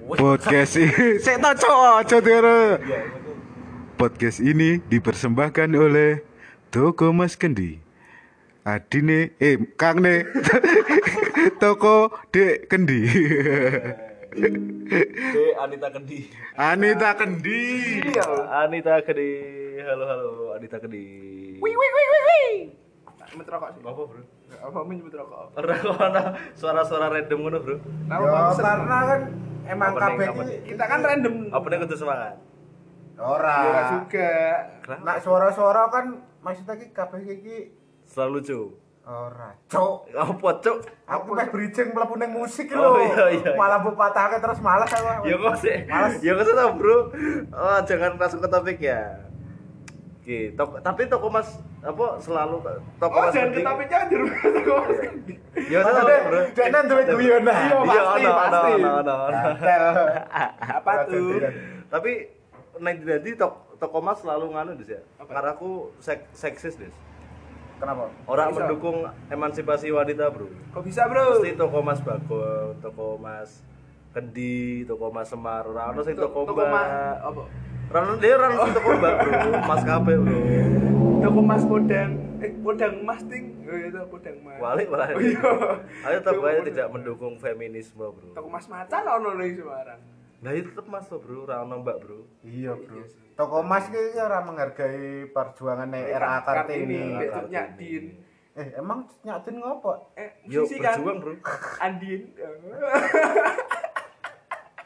Podcast ini Seta cowok cotero Podcast ini dipersembahkan oleh Toko Mas Kendi Adine Eh Kang ne Toko Dek Kendi De Anita Kendi. Anita Kendi Anita Kendi. Halo halo Anita Kendi. Wih wih. Nyebut rokok sih. Apa bro? Apa men nyebut rokok? Ora ana suara-suara random ngono bro. Tahu Ya, apa karena kan emang Apa nih, kabeh apa iki nih? Kita kan random. Apa nih kudu semangat? ora. Ya nggak juga. Kenapa? Nak suara-suara kan maksudnya iki kabeh iki Selalu lucu. ora, cok. Apa cuk? Aku pas bridging mlebu ning musik Oh, lho. iya, iya, Malah mbok patahke terus males aku. Ya kok sih. Males. Ya kok sih tau, bro. Oh, jangan langsung ke topik ya. Oke, tok- tapi toko Mas apa selalu toko Oh Mas jangan ke Kendi- topiknya jeruk toko Mas Kendi. Ya Maksudnya, tau, bro. Dene duwe guyonan. Iya, Iya, ono, pasti, ono, pasti. ono, ono, ono. Gatel. Apa tuh? Tapi nanti nanti tok toko Mas selalu nganu Des ya. Karena aku sek- seksis Des. Kenapa? Orang Bisa. mendukung emansipasi wanita, Bro. Kok bisa bro? Pasti toko Mas Bagol, toko Mas Kendi, toko Mas Semar, ora ono sing toko Toko Mas. Mbak. Apa? Ora ono dia ora ono sing toko Mbak, Bro. Mas kabeh, Bro. Toko Mas Podang. Eh Podang Mas ting. Oh iya itu Podang Mas. Walik malah. Oh iya. Ayo tetap Toko aja Mas- tidak mendukung feminisme, Bro. Toko Mas Macan ono nih Semarang. Nah, itu tetap Mas tuh, Bro, ora ono Mbak, Bro. Iya, Bro. Toko Mas iki ora menghargai perjuangan era Kartini. Kartini. Kartini. Nyak Din. Eh, emang nyatin ngopo? Eh Yo, musisi kan. berjuang, Bro. Andin.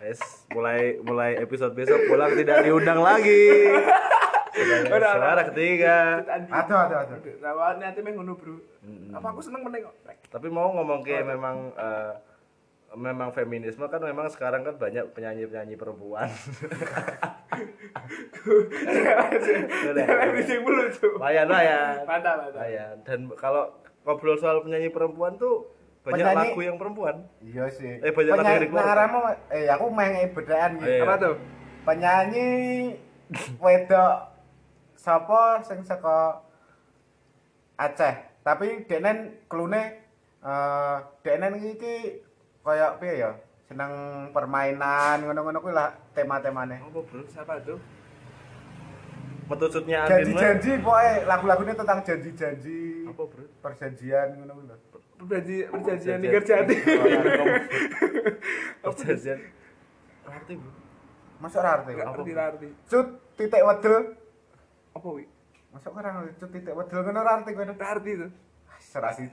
Guys, mulai mulai episode besok pulang tidak diundang lagi. Sudah Udah, Eh, suara udah. ketiga. Andin. Aduh, aduh, aduh. Nah, nanti meh ngono bro. Apa aku seneng meneng kok. Rek. Tapi mau ngomong ke memang eh, memang feminisme kan memang sekarang kan banyak penyanyi-penyanyi perempuan. Udah. Jangan bising mulu tuh. Layan layan. Mantap, mantap. Layan. ya. Dan kalau ngobrol soal penyanyi perempuan tuh banyak Penyanyi- lagu yang perempuan. Iya sih. Eh, banyak Eh, lagu yang Penyanyi- dikeluarkan. ngarepmu, eh aku main bedaan gitu. Iya. Apa tuh? penyanyi wedok sapa sing saka Aceh tapi denen klune eh denen iki- iki kaya piye ya seneng permainan ngono-ngono kuwi lah tema-temane Apa bro? Siapa tuh? Metusutnya Andin. janji-janji pokoke lagu-lagunya tentang janji-janji Apa, Bro? perjanjian ngono kuwi lho Perjanji, perjanjian di Kerjati. Perjanjian. Ngerti, Bro. masuk ora arti Gak ngerti lah arti. cut titik wedel Apa wi? masuk ora ngerti cut titik wedel ngono ora arti kowe Ah, Nggak arti tuh. serasi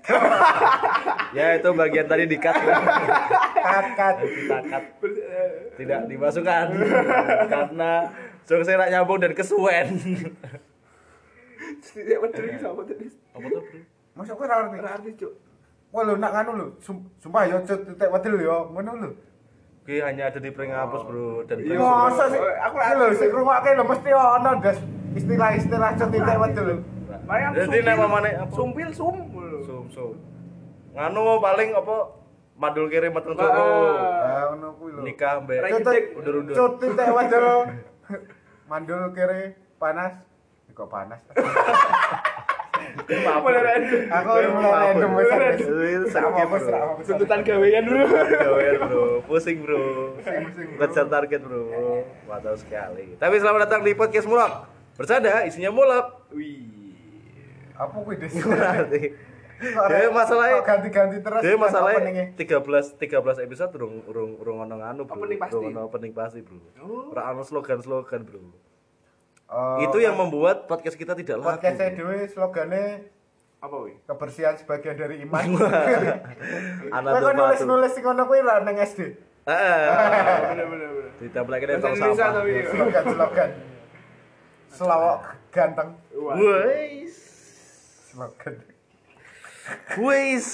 Ya itu bagian tadi dikat. kat kat Ditakat. Ber- eh, tidak dimasukkan karena jok saya nggak nyambung dan kesuwen Tidak peduli gitu apa tadi. apa tuh bro? masuk kowe ora arti Nggak arti cuk. Wah lo nak nganu lo, sumpah yo cut titik wedel yo, ngono lo. Oke, hanya ada di Pringapus bro dan Iya. Pringapus. Masa sih, aku lah lo, sing rumake lo mesti ono das istilah-istilah cut titik wedel lo. Mari aku Jadi sumpil. nama mana apa? Sumpil sum. Sum Sum. Nganu paling apa madul kiri mateng coro Ah ngono kuwi lo. nikah mbak Rai Cut gedek. titik- Undur-undur. Cut titik wedel. Mandul kiri panas. Eh, Kok panas? maaf Boleh random. Aku mulai random wis. sakit bro Tuntutan gawean dulu. Gawean, bro pusing bro kejar target bro Wah, tahu sekali tapi selamat datang di podcast mulak bercanda isinya mulak Wih. Apa kuwi des? berarti Iya. Kok Dewe re- masalahnya- kok ganti-ganti terus. Jadi openingnya? masalahnya 13 13 episode urung urung urung ono anu bro. Opening pasti. Urung ono opening pasti, Bro. Oh. Ora ono slogan-slogan, Bro. Eh, Itu yang membuat podcast kita tidak laku. podcast saya dhewe slogane Apa wi? kebersihan sebagian dari iman. Anak tuh Kowe kok nulis-nulis sing ngono kuwi ra nang SD. Heeh. Bener-bener. bener. Ditempelake Bahasa nang Indonesia sampah. tapi. iya. slogan slogan selawak ganteng Wah. Wes. slogan Wes.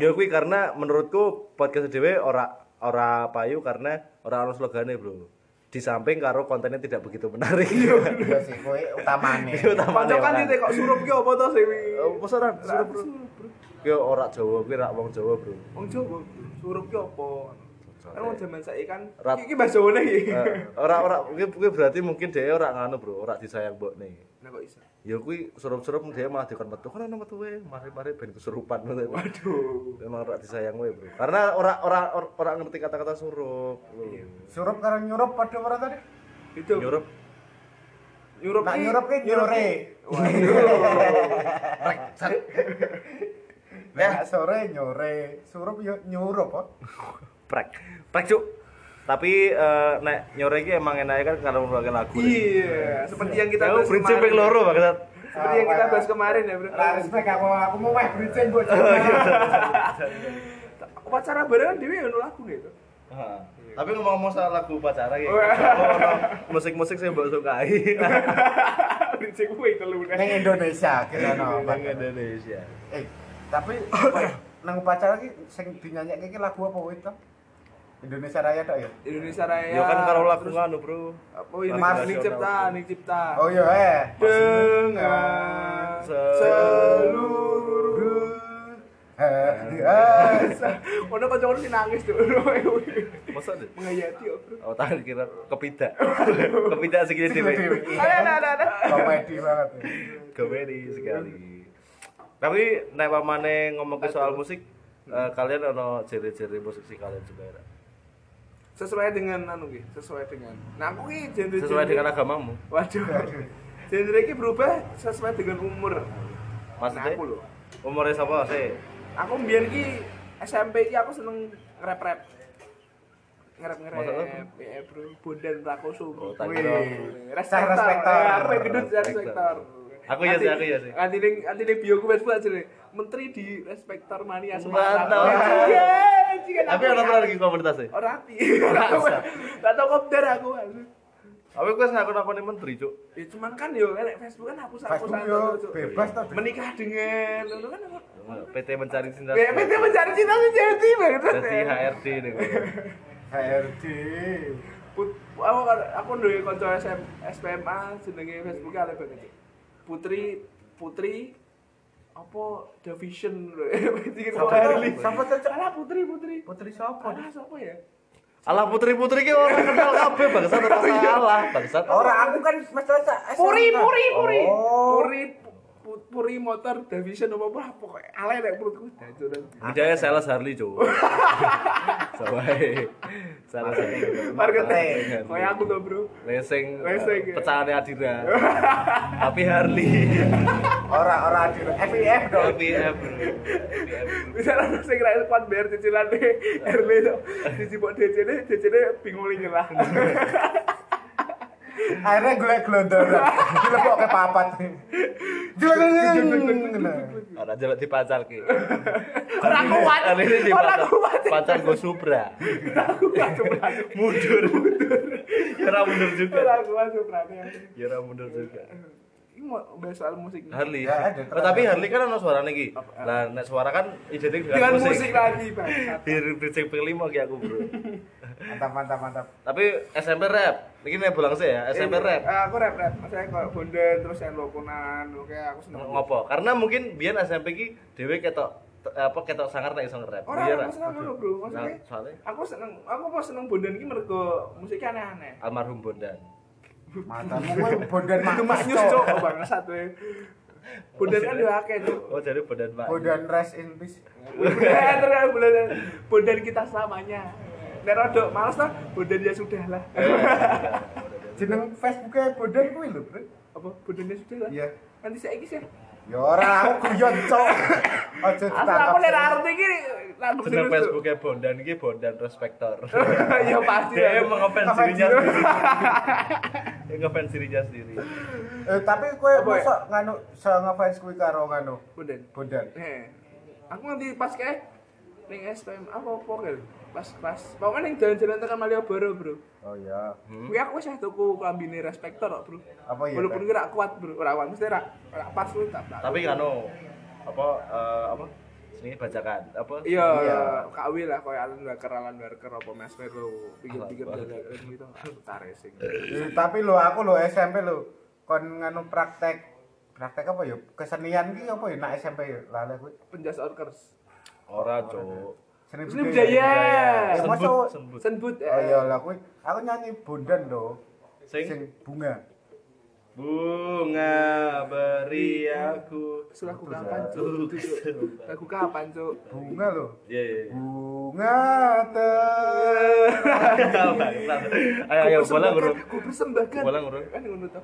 Ya kuwi karena menurutku podcast dhewe ora ora payu karena ora ono slogane, Bro. Di samping karo kontennya tidak begitu menarik. iya sih kowe utamane Itu utamanya Pojok kan orang. titik kok surup ki apa to sih wi? Eh, Masa ora suruh, Bro? Ki ora Jawa, kuwi ora wong Jawa, Bro. Wong Jawa. Surup ki apa? Kan wong jaman saiki kan Rat- iki bahasa Jawa iki. Eh, Ora ora kuwi kuwi berarti mungkin dhewe ora nganu, Bro. Ora disayang mbokne. Nah kok iso. Ya kuwi serup-serup dhewe malah dikon metu. Kan ana metuwe, mari-mari ben kesurupan ngono. Waduh. Memang ora disayang we, Bro. Karena ora ora ora- ora ngerti kata-kata surup. Bro. Surup karo nyurup padha ora tadi? Itu Nyurup nyurup Nak ki- nyurup ki nyure. Nah, sore nyore, surup yo nyurup oh. kok. prek. Prek, Cuk. Tapi eh, nek nyore iki emang enaknya kan kalau ngurungin lagu. ya. Iya, seperti yang kita Tahu bahas prinsip kemarin. yang loro, Bang. Seperti yang kita bahas kemarin ya, Bro. Lah respect aku aku mau meh bridging kok. iya. Upacara barengan dhewe ono lagu gitu. Heeh. Tapi ngomong-ngomong soal lagu pacara gitu. ono musik-musik sing mbok sukai Prinsip kuwi telu Nang nek. Indonesia kira no. nang Indonesia. Eh, tapi apa- nang upacara ki sing dinyanyekke ki lagu apa wae to? Indonesia Raya tok ya. Indonesia Raya. Ya kan karo lagu nganu, Bro. apa ini Mas- Ning cipta, ning cipta. Oh iya eh. Dengan seluruh Eh, eh, Ono kanca-kanca sing nangis tuh. Masa deh? Menghayati oh, Bro. Oh, tahan kira kepidak. kepidak segini sing dhewe. dhewe ki. Ada ada ada, ada. Komedi banget. Komedi sekali. Tapi nek pamane ngomong ke soal musik, eh, kalian ono ciri-ciri musik sih kalian juga ya? Sesuai dengan anu ki, sesuai dengan. Nah, aku ki genre Sesuai dengan agamamu. Waduh. Genre ki berubah sesuai dengan umur. Maksudnya? Nah, aku lho. Umurnya siapa sih? Aku mbiyen ki SMP ki aku seneng nge-rap-rap. Maksud Ngerap-ngerap, ya bro, Bondan Prakoso Oh, bro. tak Wih. kira. Cah respektor. Ya, aku yang gendut cah Respektor. respektor. Aku ya sih, aku ya sih. Nanti ning nanti ning bio ku wes buat jenenge, menteri di respektor mania Sumatera. Mantap. Iya, jika Tapi aku ono ya. tau lagi komunitas sih. Ora rapi. Tak tau kopdar aku. Tapi gue ngaku nakoni menteri, Cuk. Ya cuman kan yo elek Facebook kan hapus hapus Facebook yo bebas to. menikah dengan ngono kan aku. PT mencari cinta. BMT Iya, mencari cinta sejati banget. Jadi HRD nih. gue. HRD. Put- aku kan- aku nduwe kanca SM SPMA jenenge Facebook ale banget. Putri Putri apa Division lho. Sapa cocok? Alah Putri Putri. Putri sapa? Alah siapa ya? Alah putri-putri ki orang kenal kabeh bangsat ora Iya. salah, bangsat. Ora aku kan mesti Puri Puri Puri. Oh. Puri Pu- Puri motor Division apa apa pokoknya ale nek perutku dancur. Hidayah sales Harley, Cuk. Sawae. Sales Harley. Marketing. Kayak aku tuh, Bro. Leseng, Leseng, ya. pecahannya Adira. Tapi Harley. Ora ora di FIF dong. LPF, bro. Misalnya aku sing rakyat kuat bayar cicilan deh Erle tuh Dicipok DC deh, DC deh bingung lagi lah Akhirnya gue glodor. Dilebok ke papat. Dilebok. Ada jelek dipacal ki. Orang kuat, Hari ini dipacal. orang kuat Pacal gue Supra. Orang kuat Supra Mundur. Ya ora mundur juga. Orang kuat Supra Ya ora mundur juga. Ini mau bahas soal musik nih. Harley. Ya, ada. eh? oh, tapi Harley kan ono suarane iki. Lah nek suara kan identik Dengan dengan, musik lagi Bang Di Bridging Pelimo ki aku, Bro. Mantap mantap mantap. tapi SMP rap. Iki nek bolang sih ya, SMP Eh, Iya. rap. eh, Aku rap rap Maksudnya kayak Bondan terus yang lokunan Oke aku seneng Ngopo? Karena mungkin biyen SMP ki dhewe ketok te- apa ketok sangar nek iso nge-rap. Orang Iya, aku Ra? seneng ngono, Bro Nah, Maksudnya soalnya Aku seneng, aku mau seneng Bondan ini mergo musiknya aneh-aneh almarhum Bondan. Mantap. Mungkin bondan Itu mak. maknyus cok, bangsa satu Bondan kan dua akeh cok Oh, jadi Bondan Pak. Bondan rest in peace. Bundan, terus bundan, bundan kita selamanya. Nek rodok males toh, bundan ya sudah lah. Jeneng Facebooknya bondan kuwi lho, Bro. Apa bundan ya sudah lah? Iya. Nanti saya sih. Ya ora aku guyon cok. Aja Asal aku nek arti iki lagu Jeneng serius, Cuk. Facebooknya Bondan iki Bondan Respektor. Ya pasti. Dia lah. mengefans Iya, Apa, dirinya Jiro? sendiri. Dia ngefans dirinya sendiri. Eh tapi kowe Apa ya? mosok nganu se ngefans kuwi karo nganu Bundan. bondan. Heh. Aku nanti pas kayak ning SPM apa apa kan? Pas pas. Pokoknya ning jalan-jalan tekan Malioboro, Bro. Oh iya. Hmm. Kuwi aku wis tuku klambine respektor kok, Bro. Apa Oh, iya, Walaupun Pak? kuwi ra kuat, Bro. Ora kuat mesti ra ra pas lu tak. tak- Tapi kan apa eh, apa sini bacakan apa Iya, Iya. KW lah koyo Alan Walker, Alan Walker apa Mas Melo pikir-pikir dadakan gitu aku tak racing. Eh, tapi lo aku lo SMP lo kon nganu praktek praktek apa ya kesenian ki apa ya nak SMP ya lali aku Penjas Orkers. ora cuk Seni Seni budaya. Ya, Sembut, masuk. sembut. Senbut. Oh iya eh. lah kuwi aku nyanyi bondan lho. Sing? bunga. Bunga beri aku. Terus lagu kapan, Cuk? Lagu kapan, Cuk? Bunga lho. Iya, iya. Bunga te. Ayo ayo Ku bola persembahkan, urung. Ku persembahkan. Bola urung. Kan ngono to.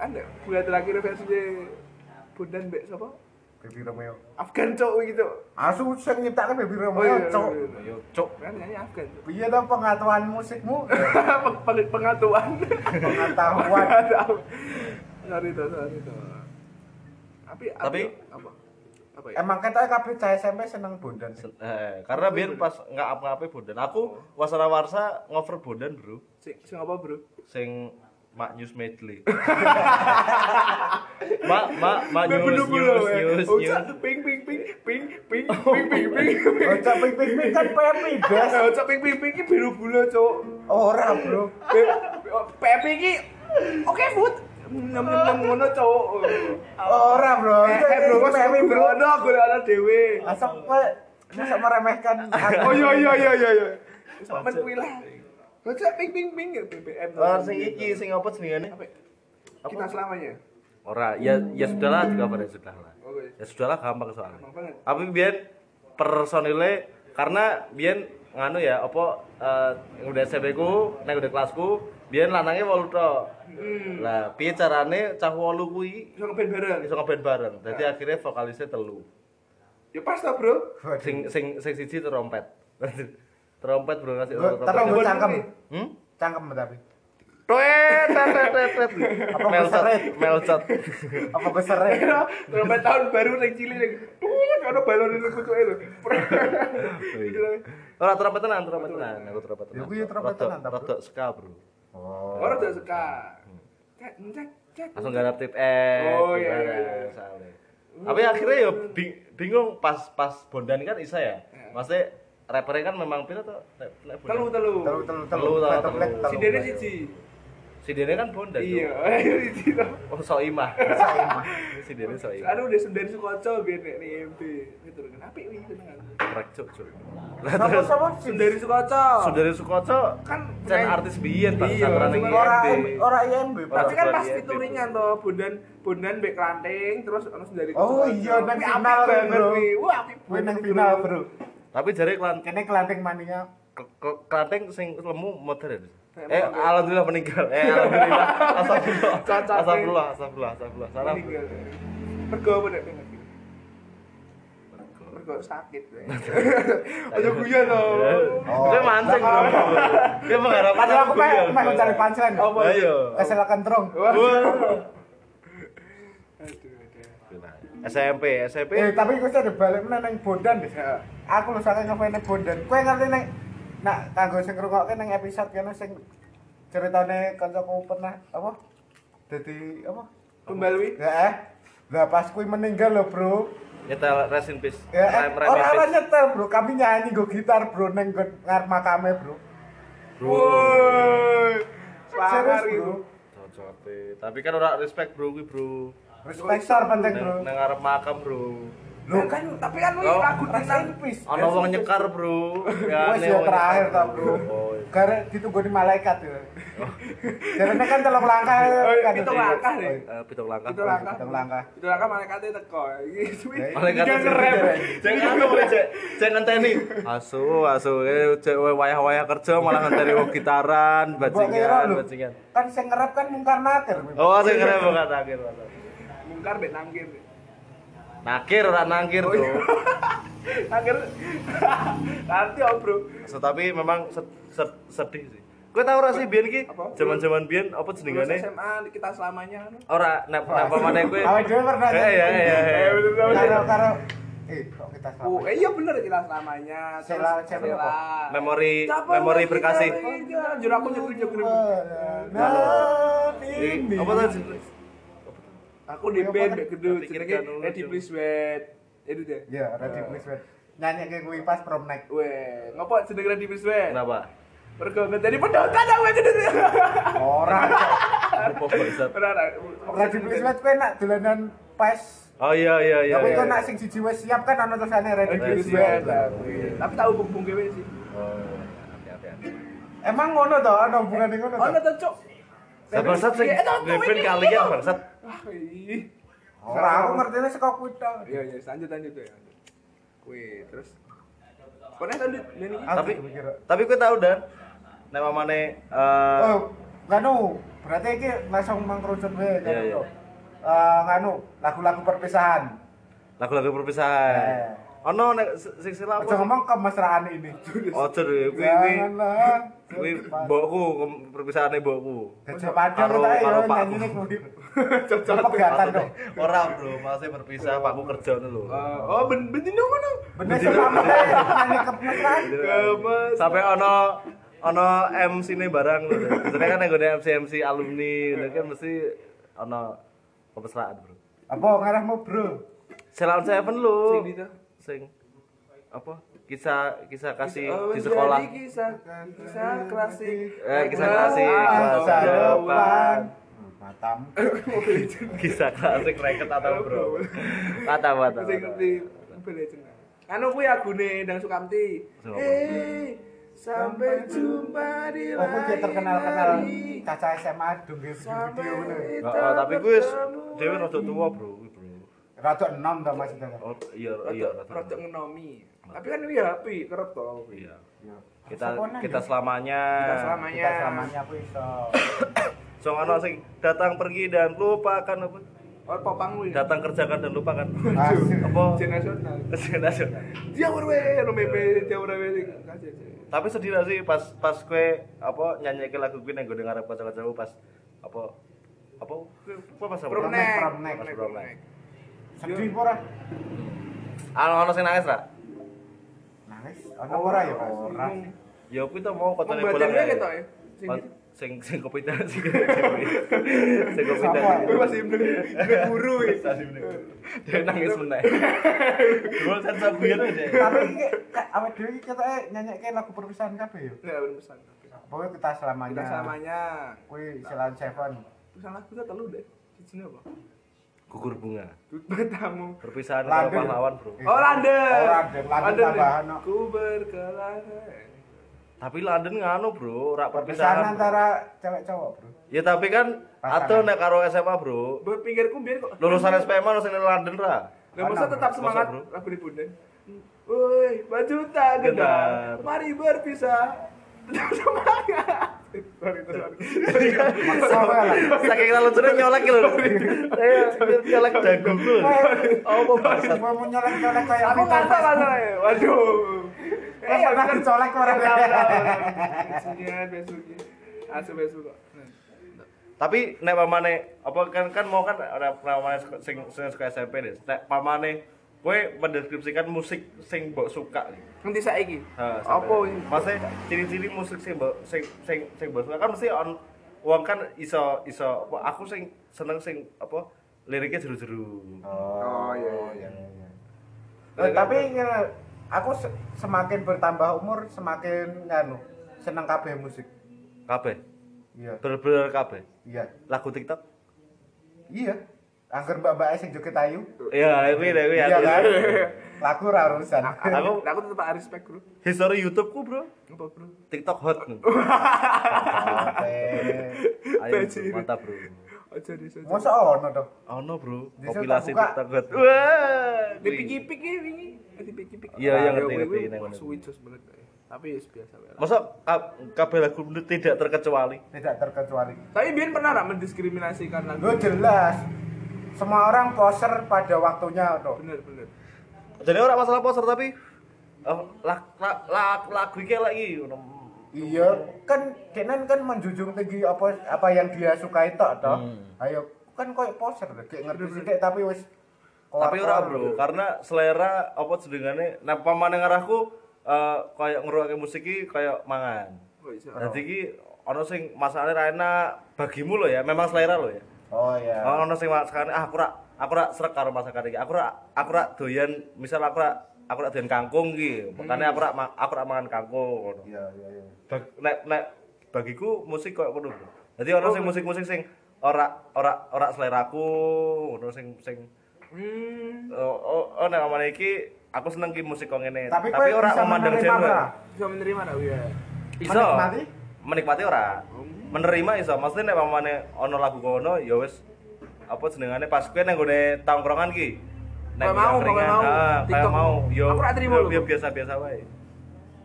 Anda bulan terakhir versinya Bondan Mbak siapa? Baby Romeo. Afgan Cuk gitu. Asu sing nyiptake Oh, Baby iya, Romeo, iya, cok. iya. Ayo cok. Kan nyanyi Afgan. Cuk. Piye to pengetahuan musikmu? Peng- peng- Pengetahuan. Pengetahuan. Pengetahuan. Sorry to, sorry to. Tapi Tapi- apa? Apa ya? Emang kita kabeh cah SMP seneng bondan. Oh, Sen- eh, karena biar pas nggak apa-apa bondan. Aku wasana warsa ngover bondan bro. Sing sing apa, Bro? Sing mak news medley. mak mak mak Ah, Nah, news bener-bener, news weh. news Oh, news. Oh. Cak, ping ping ping ping ping ping ping ping ping. Ojo ping-ping kan Pepi, Des. Eh, Cak, ping ping ping iki biru gula, Cuk. Ora, Bro. Pe- Pepe iki oke food. Nem nem nem ngono Cuk. Ora, Bro. Eh, eh, bro, mas Pepi, Pepe bro, no, golekane dhewe. Masa Pak, masa meremehkan aku? Oh iya iya iya iya iya. Men kuwi lah. Lho, Cak, ping ping ping ya BBM. Ah, sing iki sing apa jenengane? Apa ya? Kita selamanya. Ora, ya ya sudahlah juga pada sudahlah. Oke. Ya sudahlah gampang soalnya. Gampang banget. Tapi biyen personile karena biyen nganu ya apa eh, yang udah SMP ku, nek udah kelasku, biyen lanange 8 tok. Lah, piye carane cah 8 kuwi Iso ngeband bareng. iso ngeband bareng. Dadi akhirnya vokalisnya telu. Ya pas ta, Bro. Sing sing sing siji trompet. trompet bro kasih Bro, Tapi trompet. gue cangkem, Hmm? cangkem tapi. Tuet, tuet, tuet, tuet, tuet. Apa Melcot, keseret? melcot. Apa eh? gue seret? Trompet tahun baru nang Chili nang. Tuh, ono balon nang kutuke lho. Ora trompet tenan, trompet tenan, aku trompet tenan. Ya, aku ya trompet Rodok- tenan, ta, Bro. rodok ska, Bro. Oh, Ora tuh suka. Cek cek cek. Langsung garap tip eh. Oh, iya, iya, iya. Tapi akhirnya ya bing- bingung pas pas Bondan kan Isa ya. Iya. Maksudnya rappernya kan memang pira to? Nek- nek Bondan. Telu telu. telu telu Telu, telu, telu, telu telu telu. telu. Si Dene siji. Si Dene kan Bondan. Iya, Bro. siji to. Oh, Soimah. si Dene Soimah. Anu udah sendiri Sukoco biar nek nih MP. Itu kan apik wih tenang. Trek cuk cuk. Lah Sama terus sama si Sendiri Sukoco. Sundari Sukoco Kan Cen penyanyi- artis biyen Pak Iya, sakuran cuma- iki. ora IMB. ora IMB Pak. Tapi kan Orang pas Surabaya, fituringan to, Bondan Bondan mbek Klanting terus ono sendiri Oh iya nang final bro. Wah, apik Gue banget. nang wih, final bro. Tapi jare klan Kene kelanting mania. ke- ke- kelanteng sing lemu modern. Kayak Eh modern. alhamdulillah meninggal. Eh alhamdulillah. Astagfirullah. Cocok. Astagfirullah, astagfirullah, astagfirullah. Salam. Meninggal. Mergo apa nek pengen? Mergo sakit. weh. Aja guyon to. Oh. Dia mancing bro. Dia mengharapkan Padahal aku guyon, Oh, pengen Bro. pengen cari punchline. Eh, Apa? Oh, Ayo. Kesilakan terong. Wah. Aduh, aduh. SMP, SMP. Eh tapi gue sudah balik meneh nang Bondan. Ya. Aku lu saking ngefans nang Bondan. Kowe ngerti nang nak kanggo sing ngrungokke nang episode kene sing ceritane kancaku pernah apa? Dadi apa? Pembalwi. Ya eh. Lah pas kui meninggal loh bro. Nyetel rest in peace. Ya, eh, Rem- rem in orang-orang peace. nyetel bro, kami nyanyi go gitar bro, neng go ngarep makame bro. Woi. Parah Serius bro, gitu. Cocok. eh. Tapi kan ora respect bro kuwi bro. respect star penting bro. Nah, Nang nang ngarep makam bro. Lu Loh kan tapi kan lu Oh, lagu tenang. rasain peace. Ana wong nyekar bro. Wes Nah, aneh, yo wong ya terakhir nyekar, tau bro. Oh, iya. Karena ditunggu di malaikat ya. Jarene kan telung langkah kan Oh. iya, Itu langkah deh. Eh, pitung langkah. Itu langkah. Itu langkah. Itu langkah malaikatnya teko. Gitu. Malaikat Dia ngerem. Jangan anu weh, Cek. Jangan ngenteni. Asu, asu. Eh, Cek weh, wayah-wayah kerja malah ngenteni wong gitaran, Mbok kira bajingan, lho, bajingan. Kan sing ngerap kan mungkar nakir. Oh, sing keren bukan nakir. bukan. Mungkar mbek nangkir. Nakir ora nangkir Oh, tuh. Nangkir. Nanti om bro. So, tapi memang sed- sed- sedih sih. Kowe tau ora sih biyen iki? Apa? Zaman-zaman biyen apa Lulus jenengane? SMA kita selamanya kan. Ora nek nek pamane kowe. Awak dhewe pernah. Eh, iya, iya, iya. Karo karo eh kok kita salah. Oh, eh iya bener kita selamanya. Terus Sela- sela apa? Sela. Memori Capek memori lagi, berkasih. capek. Iya, Jujur aku nyetir nyetir. Nah, Di- ini. Eh, Apa tuh? jen- Aku di band mbek gedhe Tak pikirkan jenenge dulu, Ready Cuk. Please Wait. Itu deh. Ya, Ready Please Wait. Nyanyi ke gue pas prom night. Weh, ngopo jeneng Ready Please Wait? Kenapa? Mergo ngenteni pendotan aku gedhe. Orang. Apa bangsat? Ora ora. Ready Please Wait gue nak dolanan pas Oh iya iya iya. Tapi iya. kok nak sing siji wis siap kan ana tulisane ready to Ready to wear. wear. Tapi tahu bumbung kewe sih. Oh, iya, oke, oke, oke. Emang ngono to ana hubungane ngono Ono to? to, Cuk. Lah, bangsat sing Iya, tau, tau, ngepin ini, kali ini, ya tau. bangsat. Wah, ih. Ora aku ngertine saka kuwi to. Iya, iya, lanjut lanjut ya. Kuwi terus Pernah tadi ini Aku Tapi berpikir, tapi gue tahu dan nek mamane eh Oh, nganu, berarti iki langsung mengkerucut wae kan Iya, iya. to. Eh nganu, lagu-lagu perpisahan. lagu-lagu perpisahan. Ono nek s- sing sila Aja apa? ngomong kemesraan ini. Ojo kuwi kuwi Janganlah. kuwi mbokku ngom- perpisahane mbokku. Gajah Mada Karo- kita ya karo Pak. nyanyi nih kuwi. Pegatan dong. Ora bro, maksudnya berpisah pakku kerja ngono lho. oh ben bendino ngono. Bener sama kita ya, nyanyi kemesraan. Kemes. Sampai ono ono MC ne barang lho. Biasanya kan yang MC MC alumni ngono kan mesti ono pemesraan bro. Apa ngarahmu, Bro? Selain Seven lho. Hmm. Sing di tuh. Sing apa? Kisah kisah kasih Oh, di menjadi sekolah. Kisah kisah klasik. Ah, Eh, kisah klasik. Ah, Masa Masa depan. depan. Matamu. Kisah klasik reket atau bro. Kata kata. Sing ngerti Oh, Mobile Legends. Anu kuwi agune Endang Sukamti. Sukamti. Hey, sampai jumpa di Aku dia lain terkenal-kenal hari. caca SMA dong guys Sampai video ini. Heeh, Oh, tapi gue wis dhewe rada tua bro, kuwi, bro. Rada enom to Mas Dara. Oh, iya iya Rotok- rada rotok tua. ngenomi. Tapi kan ini HP kerep to. Iya. Iya. Kita Soponan ya? kita selamanya. Kita kita selamanya. selamanya aku iso. So ono sing datang pergi dan lupakan apa? Oh, popang kuwi. Datang kerjakan dan lupakan. Asik. apa? Ujian nasional. Nasional. Dia werwe no mepe dia werwe. Kasih, kasih. Tapi sedih lah sih pas pas kue apa nyanyi lagu gue yang gue dengar apa kacau kacau pas apa apa kue apa pas apa? Promenade. Promnek. Promnek. Promnek. Promnek. Sedih ora? Ano ono sing nangis lah. Nangis. Ono ora ya ora. Ya aku tuh mau kotone Membatin pulang gue ya. gitu ya. Sing Kon- gitu. Sing sing kopita sing sing kopita. Sama. Gue masih bener. Gue guru ya. Dia nangis meneh. Gue sensor guyon aja. Tapi awet dhewe iki ketoke nyanyi lagu perpisahan kabeh yo. Enggak bener pesan. Pokoknya kita selamanya. Kita samanya. Kuwi Selan Seven. Pesan lagu kita telu deh. Sijine apa? Gugur bunga. Dut bertamu. Perpisahan Lanjut. sama pahlawan, Bro. Eh. Oh, London. Oh, London. London tambahan, no. Ku eh. berkelana. Tapi London nganu, Bro, rak Perpisahan perpisahan. Bro. antara cewek cowok, Bro. Ya tapi kan Pasangan. atau nek karo SMA, Bro. Berpinggir kumbir kok. Lulusan SPM ono sing nang London ra. Lah masa Mana, tetap Bro? semangat Masa, Bro? lagu di bunda. Woi, baju tak Genar. genar. Mari berpisah. Tetap semangat. Sorry, sorry. Sama lah. Saking lalu sudah nyolek lho. Saya nyolek jagungku. lho. Apa bangsat? Cuma mau nyolek-nyolek kayak Aku Peter kata Pan. kata ya. Waduh. Eh, pernah kan- dicolek orang. Tahu, tahu, tahu. Besoknya, besoknya. Asuh Ah, besok kok. Tapi nek pamane apa kan kan mau kan ada pamane sek- sing sing suka SMP deh. Nek pamane kowe mendeskripsikan musik sing mbok suka. Nanti saiki. Ha, Ah, sampai- Apa ini? Maksudnya ciri-ciri musik sing mbok sing sing sing mbok suka kan mesti on wong kan iso iso apa, aku sing seneng sing apa liriknya jeru-jeru. Oh, iya, iya, iya. Eh, tapi ngene, aku se- semakin bertambah umur semakin nganu seneng kabeh musik. Kabeh. Iya. Bener-bener kabeh. Iya. Lagu TikTok. Iya. Angger mbak-mbak sing joget ayu. Iya, kuwi deh kuwi. Iya aku- kan? Lagu ra urusan. Aku Aku tetap respect, Bro. history YouTube-ku, Bro. Apa, Bro? TikTok hot. Ayo, Bajir. mantap, Bro. Aja di sana. Mosok ono to. Oh no bro, Bisa kompilasi tak buka. TikTok hot. Wah. Di piki piki ini, di piki piki. Iya, iya, ngerti, ngerti, neng, neng. Suwi jos banget. Bay. Tapi ya biasa wae. lah. Masa ka- kabeh lagu menurut tidak terkecuali? Tidak terkecuali. Tapi Bian pernah nggak mendiskriminasikan lagu? Lu jelas. Semua orang poser pada waktunya to. Bener bener. Jadi orang masalah poster tapi eh, lag- lag- lag- lagu iki lagi Iya, kan Kenan kan menjunjung tinggi apa apa yang dia sukai tok toh. Ayo, kan koyo poser gek ngerti sithik tapi wis Tapi ora keluar-keluar. bro, karena selera apa jenengane nah pamane ngarahku eh kayak ngeruake musik iki kayak mangan. Oh, iso. Dadi iki ono sing masalahnya ra enak bagimu lo ya, memang selera lo ya. Oh iya. Oh, ono sing masakane ah aku rak aku rak srek karo masakan iki. Aku rak aku rak doyan misal aku rak aku rak doyan kangkung iki. Makane aku rak ma- aku rak mangan kangkung ngono. Iya, iya, iya. Bag- nek nek bagiku musik koyo ngono. Bro. Oh. Dadi ono sing musik-musik sing ora ora ora seleraku, ono sing sing Hmm. Oh, oh, oh nek omane iki aku seneng ki musik kok ngene. Tapi Tapi, kowe ora bisa memandang menerima ora? genre. Bisa menerima tau ya. Iso. Menikmati? Menikmati? ora. Oh. Menerima iso. Maksudnya nek omane ono lagu ngono ya wis apa jenengane pas kowe nang nggone tongkrongan ki. Kowe mau, kowe mau. Kayak TikTok. mau. Yo. Aku ora terima yo- lho. yo biasa-biasa wae.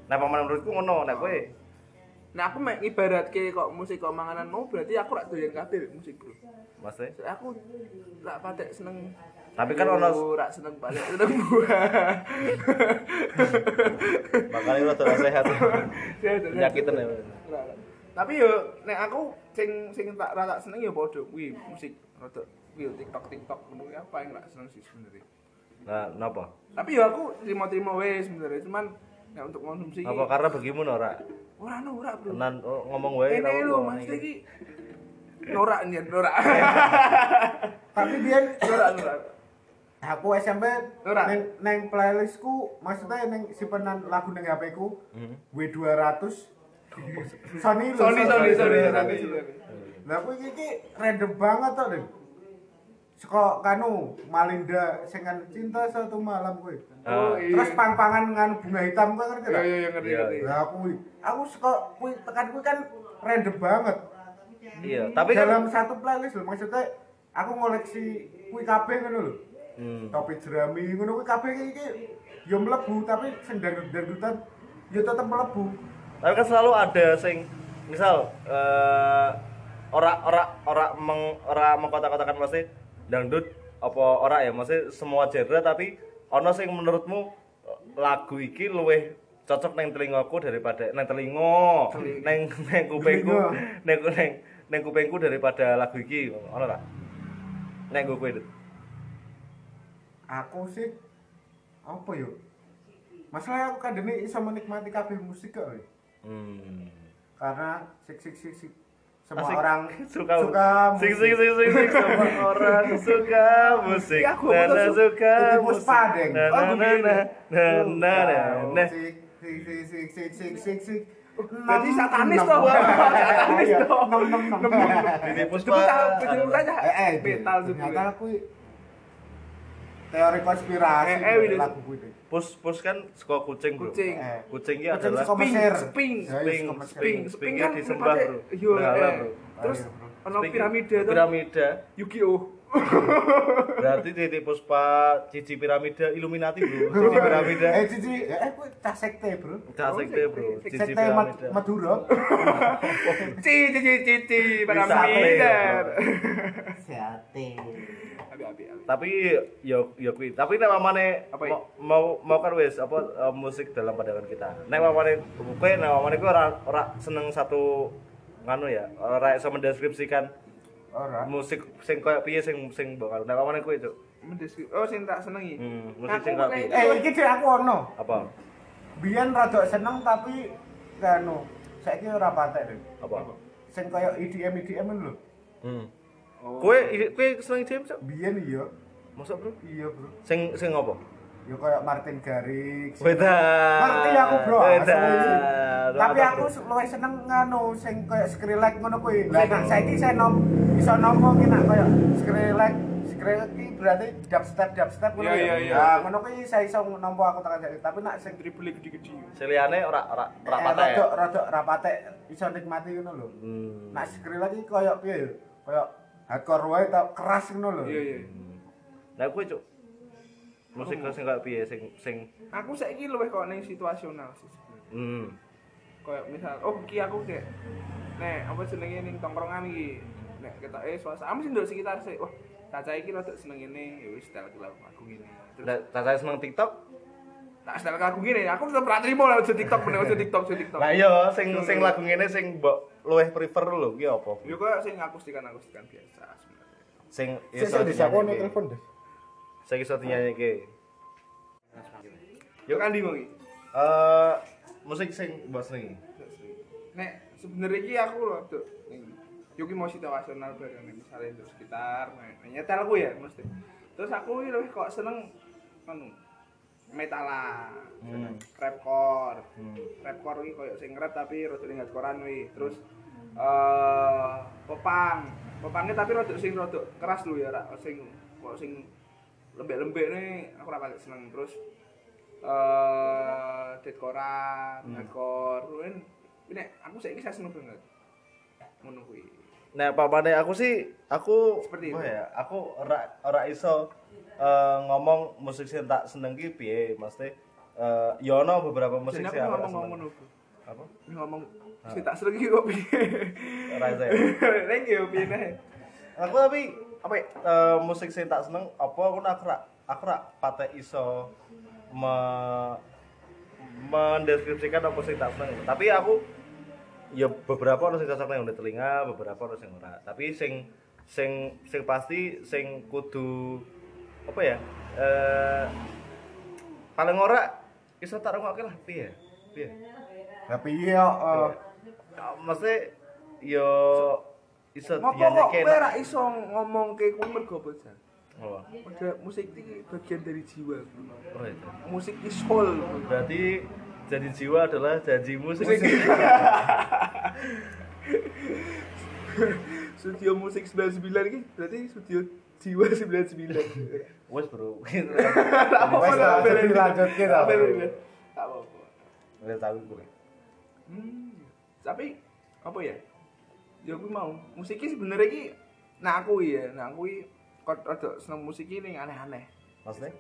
Nah, paman menurutku ngono, nek kowe Nah aku mek ibarat ke kok musik kok mangananmu berarti aku rak doyan kabeh musik bro. maksudnya Soalnya Aku rak patek seneng Tapi kan ono- Aku rak seneng patek seneng buah. makanya lu terasa sehat. Sehat, sehat. Penyakitan ya. Rak, rak. Tapi yo nek aku sing sing tak rak tak seneng yo padha kuwi musik rada kuwi TikTok TikTok ngono ya paling rak seneng sih sebenarnya. Nah, napa? Tapi yo aku terima-terima wae sebenarnya cuman ya untuk konsumsi Apa karena bagimu ora? ora ora bro. Tenan oh, ngomong wae Ini ora lho apa-apa. mas iki norak nyen norak. Tapi biyen Norak norak. aku SMP Ora. neng, neng playlistku maksudnya neng simpenan lagu neng HP ku W200 Sony lho, Sorry sorry sorry Sony. sorry. Lah aku iki iki random banget to, Din. Saka kanu Malinda sing kan cinta satu malam kowe. Ah. Oh iya. Terus pang-pangan nganu bunga hitam kowe ngerti Iya ta? iya iya, ngerti Iya, ngerti. Lah aku aku saka kuwi tekan kuwi kan random banget. Iya, tapi kan dalam satu playlist lho maksudnya aku ngoleksi kuwi kabeh ngono lho. Hmm. Topi jerami ngono kuwi kabeh iki- iki yo mlebu tapi sendang dangdutan yo tetep mlebu. tapi kan selalu ada sing misal eh ora ora ora meng, ora mengkotak-kotakan mesti dangdut apa ora ya mesti semua genre tapi ono sing menurutmu eh, lagu iki luwih cocok neng telingaku daripada neng telingo neng neng kupengku Telinga. neng neng neng kupengku daripada lagu iki ono tak neng gue kowe Dut. aku sih apa yo masalah aku kan ini bisa menikmati kabeh musik kok weh. hmm. karena sik sik sik sik semua Asik. orang suka, suka sing sing musik. sing sing sing semua orang suka musik Iya, aku nana betul, suka Titi musik Puspa, Deng. nana Oh, nana begini. Nah, nana Suka nana musik, sik sik sik sik sik sik sik Jadi Enam, satanis enam. toh, Bang. Satanis Iya, toh. enam, enam, enam. Titi Puspa. Betul tak? Betul saja. eh eh Metal tuh. ternyata aku teori konspirasi Eh, eh, Widus. lagu gue deh pus pus kan suka kucing bro Kucing. Eh. kucing ini Kucing adalah suka Sping, Mesir. sping, Ya, iya, sping, suka Mesir. sping. Spingnya disembah, bro. Yo, Berhala, bro. eh. Terus Ayo, bro. ono piramida tuh. piramida Yu-Gi-Oh. berarti titik puspa cici piramida illuminati bro cici piramida eh cici eh eh, gue cah sekte bro kasih deh bro cici sekte Mad- piramida Madura Ci ci ci ci ci piramida. Abi abi abi. tapi yo yo kuwi tapi nek mamane Apa, mau, mau mau kan wis apa eh, musik dalam pandangan kita nek mamane kowe nek mamane kowe ora ora seneng satu nganu ya ora iso mendeskripsikan ora musik sing koyo piye sing sing bakal nek mamane kowe cuk Mendeskrip. Oh, sing tak senengi. hmm, musik Aku sing koyo piye kayak- eh iki deh aku ono apa biyen rada seneng tapi kanu saiki ora patek lho apa sing kaya IDM IDM lho hmm. Oh. kowe i- kowe seneng jam cuk biyen iya mosok bro iya bro sing sing apa ya kaya Martin Garrix beda ngerti aku bro beda asli. tapi aku luwih seneng nganu sing kaya Skrillex ngono kuwi lah nek saiki saya nom bisa nompo ki nak kaya Skrillex Skrillex ki berarti dubstep dubstep ngono Iya, iya, ya iya. nah ngono kuwi saya iso nompo aku tekan saiki tapi nak sing Dribble gede-gede. seliane ora ora ora Eh, patah ya rodok rodok rapate iso nikmati ngono lho. Hmm. Nah, skril lagi koyo piye ya? Koyo hardcore wae tau keras ngono lho. Iya iya. Nah, gue cuk. Musik Oh. kelas sing kayak piye sing sing Aku saiki luwih kok ning situasional sih. hmm. kayak misal oh ki aku kayak nek apa senengnya ning tongkrongan iki nek kita eh suasana aku sih ndok sekitar sih wah caca iki rada seneng ngene ya wis style aku aku ngene terus Nah, saya seneng TikTok. tak style aku ngene aku tetep ra trimo lah aja TikTok meneh aja TikTok aja TikTok Lah iya, sing sing lagu ngene sing mbok luweh prefer lho ki apa? yo kok sing akustikan akustikan biasa sebenarnya Sing Sik sik disakone telepon deh. Sing iso dinyanyike. yo kan di iki Eh, musik sing mbok senengi. nek sebenarnya iki aku lho tuh yo ki mau situasional bareng nek misalnya ndok sekitar nek- nek nyetel aku ya mesti terus aku iki lebih kok seneng anu metalan Hmm. rapcore Hmm. rapcore iki koyo sing rap tapi rada ning hardcorean kuwi. Terus eh popang. Popangnya tapi rada sing rada keras lho ya, ra sing kok sing lembek-lembek nih aku ra paling seneng terus eh deadcorean, Hmm. hardcore, ini nek aku saiki saya seneng banget. Ngono kuwi. Nah, papane aku sih aku Seperti itu. apa ya, aku ora ora iso eh, ngomong musik sing tak seneng ki piye, mesti eh ya ono beberapa musik Jadi aku sing aku ngomong tak ngomong seneng. ngono kuwi. Apa? Ini ngomong sih tak seneng iki kok piye. Ora iso ya. Nek yo piye nek. Aku tapi apa ya, eh, musik sing tak seneng apa aku nak- aku rak aku rak patek iso me mendeskripsikan apa sing tak seneng. Tapi aku ya beberapa ono sing cocok nang ngone telinga, beberapa ono sing ora. Tapi sing sing sing pasti sing kudu apa ya? Eh paling ora iso tak rungokake lah piye. Piye? Tapi iya eh, Mesti yo iso Ngopo kok dianyeke kowe enak. ra iso ngomong ke kuwi mergo apa Jan? Oh, Padahal musik ini bagian dari jiwa. Bro. oh itu. Musik is soul. Bro. Berarti janji jiwa adalah janjimu musik. studio musik 99 ini berarti studio jiwa 99 Wes bro. apa Wes lah, apa jadi lanjutkin lah. apa Wes tahu gue. tapi apa ya ya aku mau musiknya sebenarnya ki nah aku ya nah aku i kok ada seneng musik ini yang aneh-aneh Maksudnya?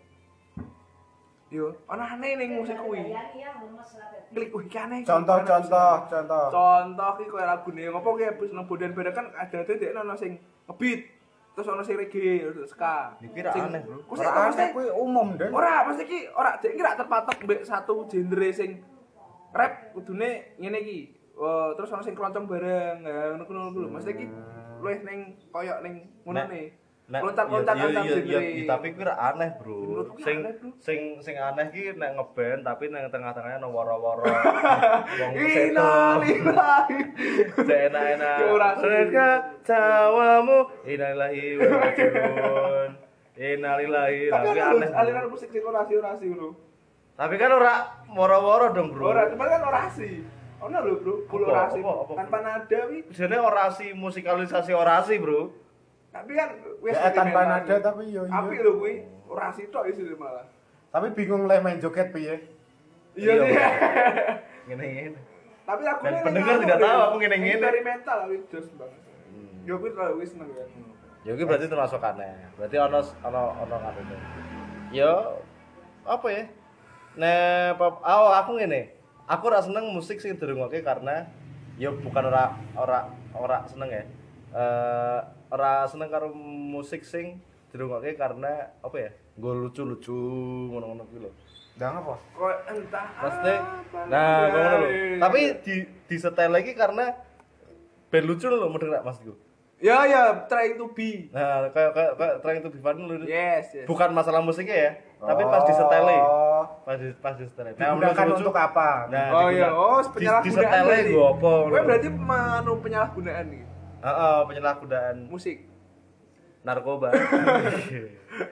yo aneh-aneh ning musik kuwi klik kuwi ki aneh contoh Aneh, contoh seneng. contoh. contoh ki koyo lagune ngopo ki habis nang bodan bareng kan ada ada dek ono sing ngebeat terus ono sing reggae terus ska Iki ra Sing- aneh, Bro. Ku sik- Ora ku sik- aneh kuwi umum, Den. ora mesti ki ora dek ki ra terpatok mbek satu genre sing rap kudune ngene iki Eh, terus ono sing keroncong bareng ya ngono ngono kuwi lho mesti ki luwih ning koyo ning Nek- ngono ne Nek- loncat-loncat iya, iya, antar iya, iya, genre iya, tapi kuwi ra aneh, Bro. Menurutku Sing aneh, Bro. sing sing aneh ki nek ngeband tapi nek tengah-tengahnya ono woro-woro. Wong Inal, inal. Cek enak-enak. Ya, ora sih. Surga jawamu innalillahi wa inna ilaihi rajiun. Innalillahi. Tapi Tapi ono lho, aneh. Bro. aliran musik sing orasi orasi ngono. Tapi kan ora woro-woro dong, Bro. Ora, cuman kan orasi. Ono lho, Bro, full Apa, orasi. apa, apa, Tanpa Bro? nada wi. Jenenge orasi musikalisasi orasi, Bro. Tapi kan wis Ya, tanpa nada tapi yo, iya. Apik lho kuwi, orasi tok isine malah. Tapi bingung leh main joget piye. Iya Iya, sih. Ngene-ngene. Tapi aku Dan pendengar tidak tahu aku ngene-ngene. Hmm. Eksperimental aku jos banget. Yo kuwi terlalu wis seneng ya. Ya iki berarti termasuk aneh. Berarti ono ono ono ngene. Ya apa ya? Nah, pap- oh, aku ngene. Aku ora seneng musik sing dirungokke karena ya bukan ora ora ora seneng ya. Eh ora seneng karo musik sing dirungokke karena apa ya? Gue lucu-lucu ngono-ngono kuwi lho. Ndang apa? Kok entah. Pasti. apa Nah, dari- ngono lho. Tapi di di setel lagi karena band lucu lho mending gak Mas Gu. ya ya trying to be. Nah, kayak kayak kayak trying to be fun lho. Yes, yes. Bukan masalah musiknya ya, tapi pas di setele. Oh. Pas di pas di setele. Digunakan lucu-lucu- untuk apa? Nah, Oh iya, diguna- oh di, penyalahgunaan. di setele berarti. gue apa? Kowe berarti manu penyalahgunaan nih Heeh, penyalahgunaan musik. narkoba.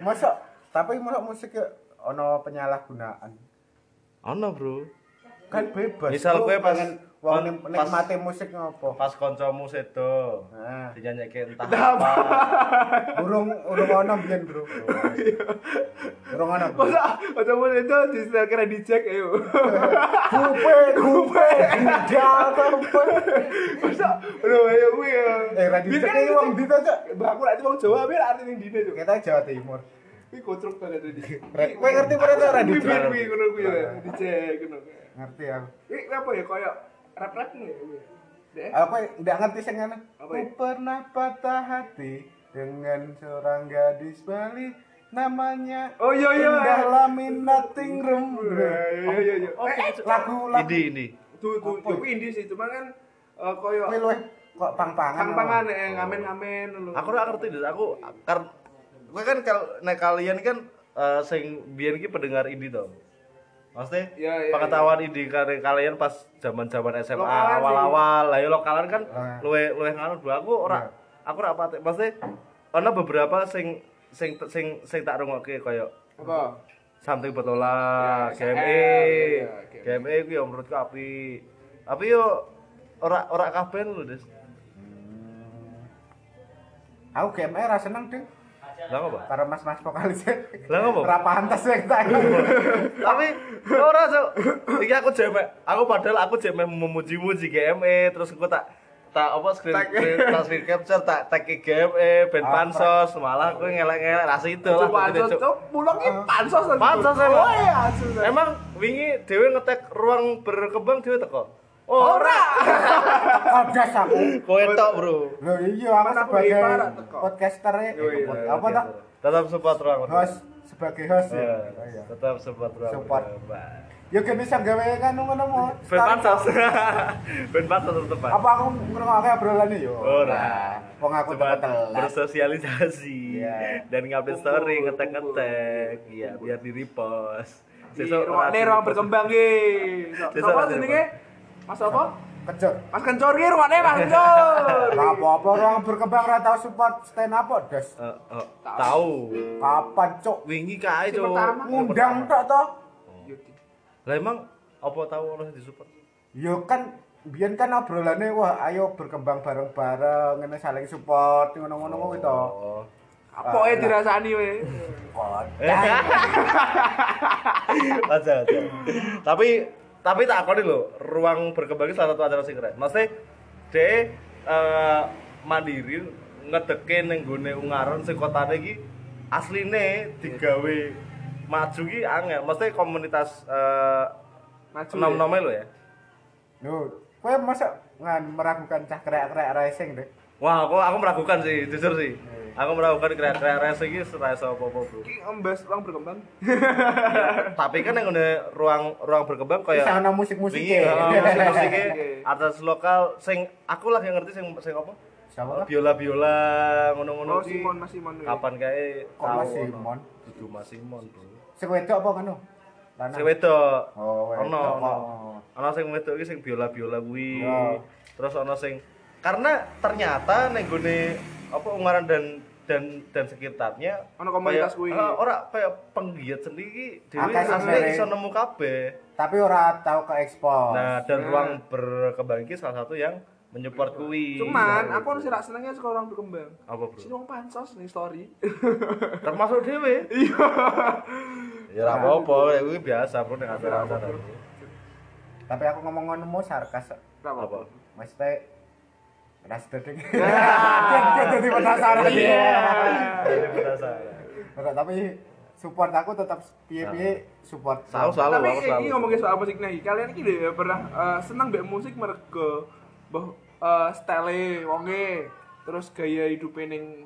Masa tapi masa musik ya ono penyalahgunaan. Ono, Bro. Kan bebas. Misal Lu kowe pas- pengen wong pas- nik- nikmati musik ngopo? Pas koncomu sedo. Nah. Dinyanyike entah apa. Urung urung ono mbiyen, Bro. Urung ono. Bro. Masa otomu itu di setel kira di eh, cek ayo. Kupe kupe gudang kupe. Masa aduh ayo kuwi ya. Eh ra dicek iki wong ndi to, Cok? Mbak aku lagi wong Jawa tapi arti ning dine Cuk. Kita Jawa Timur. Kuwi kocrok banget tadi. Rek, kowe ngerti ora to ra Kuwi dicek? kuwi ngono kuwi ya, di cek ngono. Ngerti aku. Kuwi apa ya koyo rap-rap nih. Deh. Aku ndak ngerti sing ngene. Apa Ku ya? pernah patah hati dengan seorang gadis Bali namanya Oh, iya, iya. Indah Laminating Room. iya, Ya ya ya. Eh, Lagu lagu Ini ini. tuh tuh Apa ya? kuwi indie sih, cuman kan eh, koyo kowe luwih kok pang-pangan. pang-pangan eh, ngamen-ngamen ngono. Aku ora ngerti Dit. Aku kar gue kan kal nek kalian kan eh, sing biyen ki pendengar indie to. Maksudnya Ya, ya, pengetahuan indie kalian, kalian pas zaman-zaman SMA Lokalan sih. Ah. awal-awal. Lah ya lokalan kan Nah. luwe luwe ngono dua aku ora aku ora pati. Maksudnya ana beberapa sing sing sing sing tak rungokke koyo apa? something betola, Ya, GME, ya, ya, GME ku ya menurutku api. Tapi yo ora ora kabeh lho, Des. Aku game era seneng, Ding. Lah apa? Para mas-mas vokalis. Lah ngopo? Ora pantes ya kita. Tapi ora, Cuk. Iki aku jemek. Aku padahal aku jemek memuji-muji GME terus aku tak tak apa screen Tag. screen tak screen capture tak tag ke GME ben pansos malah aku ngelek-ngelek ras itu lah. Coba Cuk. aja tuh pulangnya pansos lagi. Pansos, emang. Oh iya, sudah. Emang wingi dhewe ngetek ruang berkembang dhewe teko. Ora. Ora, Kodas aku. kowe tok, Bro. Loh iya aku Mas, aku sebagai ibarat teko. podcaster ya. Yo, iya. Apa tak? Tetap support ruang. Host sebagai host ya. Ya, Oh, iya. Tetap support ruang. Support. berkembang. Ya gak bisa gawe kan ngono mau. Ben pansos. Ben pansos tetep. Pak. Apa aku ngrungokke obrolane yo. Ora. Wong aku Cuma telat. bersosialisasi Iya. dan ngupdate story, Kumpul, ngetek-ngetek, iya biar di repost. Di Sesuk ruang ora ini di-repost. ruang berkembang ge. So- Sesuk Sopo ora jenenge? Mas apa? Kejut. Mas kencur ge ruangnya Mas kencur. Lah apa-apa orang berkembang ora tau support stand up kok, Des. Eh, eh, tahu. Kapan cuk Wingi kae Si Cuk. pertama. ngundang tok to? Lah emang apa tahu ono sing disupport? Ya kan biyen kan obrolannya wah ayo berkembang bareng-bareng ngene saling support ngono-ngono kuwi to. Oh. Apa ya dirasani we? Kocak. aja aja. tapi tapi tak akoni lho, ruang berkembang itu salah satu acara sing keren. Maksudnya de eh, mandiri ngedeke ning gone Ungaran sing kotane iki asline digawe maju ki angel. Maksudnya komunitas eh Maju, nom-nome lho ya. Lho, kowe masa ngan meragukan cah krek-krek racing deh. Wah, aku aku meragukan sih, jujur sih. Aku meragukan kreatif racing iki setelah apa-apa, Bro. Iki embas ruang berkembang. tapi kan yang udah ruang ruang berkembang kayak Bisa ana musik-musiknya. musik musiknya artis lokal sing aku lah yang ngerti sing sing apa Siapa? biola biola ngono ngono Oh Simon Mas Simon. we. kapan kae Kok Mas Simon? kudu Mas Simon bro Sing wedok apa ngono? Lanang. sing wedok Oh, wedok. ono ono Oh. ono sing wedok iki sing biola biola kuwi Ya. terus ono sing karena ternyata neng gone apa Ungaran dan dan dan sekitarnya Ono komunitas kayak- kuwi. Eh, ora kayak penggiat sendiri dhewe Akeh sing asli mere. iso nemu kabeh Tapi ora tau ke ekspor. Nah, dan Nah. ruang berkembang ini salah satu yang menyupport kui. Iya. Cuman aku harus rak senengnya suka orang berkembang. apa bro? Sini wong pansos nih story. Termasuk dewe. Iya. Ya ora apa-apa, ya kuwi biasa bro ning acara-acara. Tapi aku ngomong ngono mau sarkas. Apa? Maksudnya Ras dedeng. Dia jadi penasaran. Iya. Ini penasaran. Ora, tapi support aku tetap piye-piye support. Selalu selalu Tapi aku selalu. ini ngomongin soal musik lagi. Kalian ini udah pernah eh, seneng mbak musik mergo boh style wonge terus gaya hidupe ning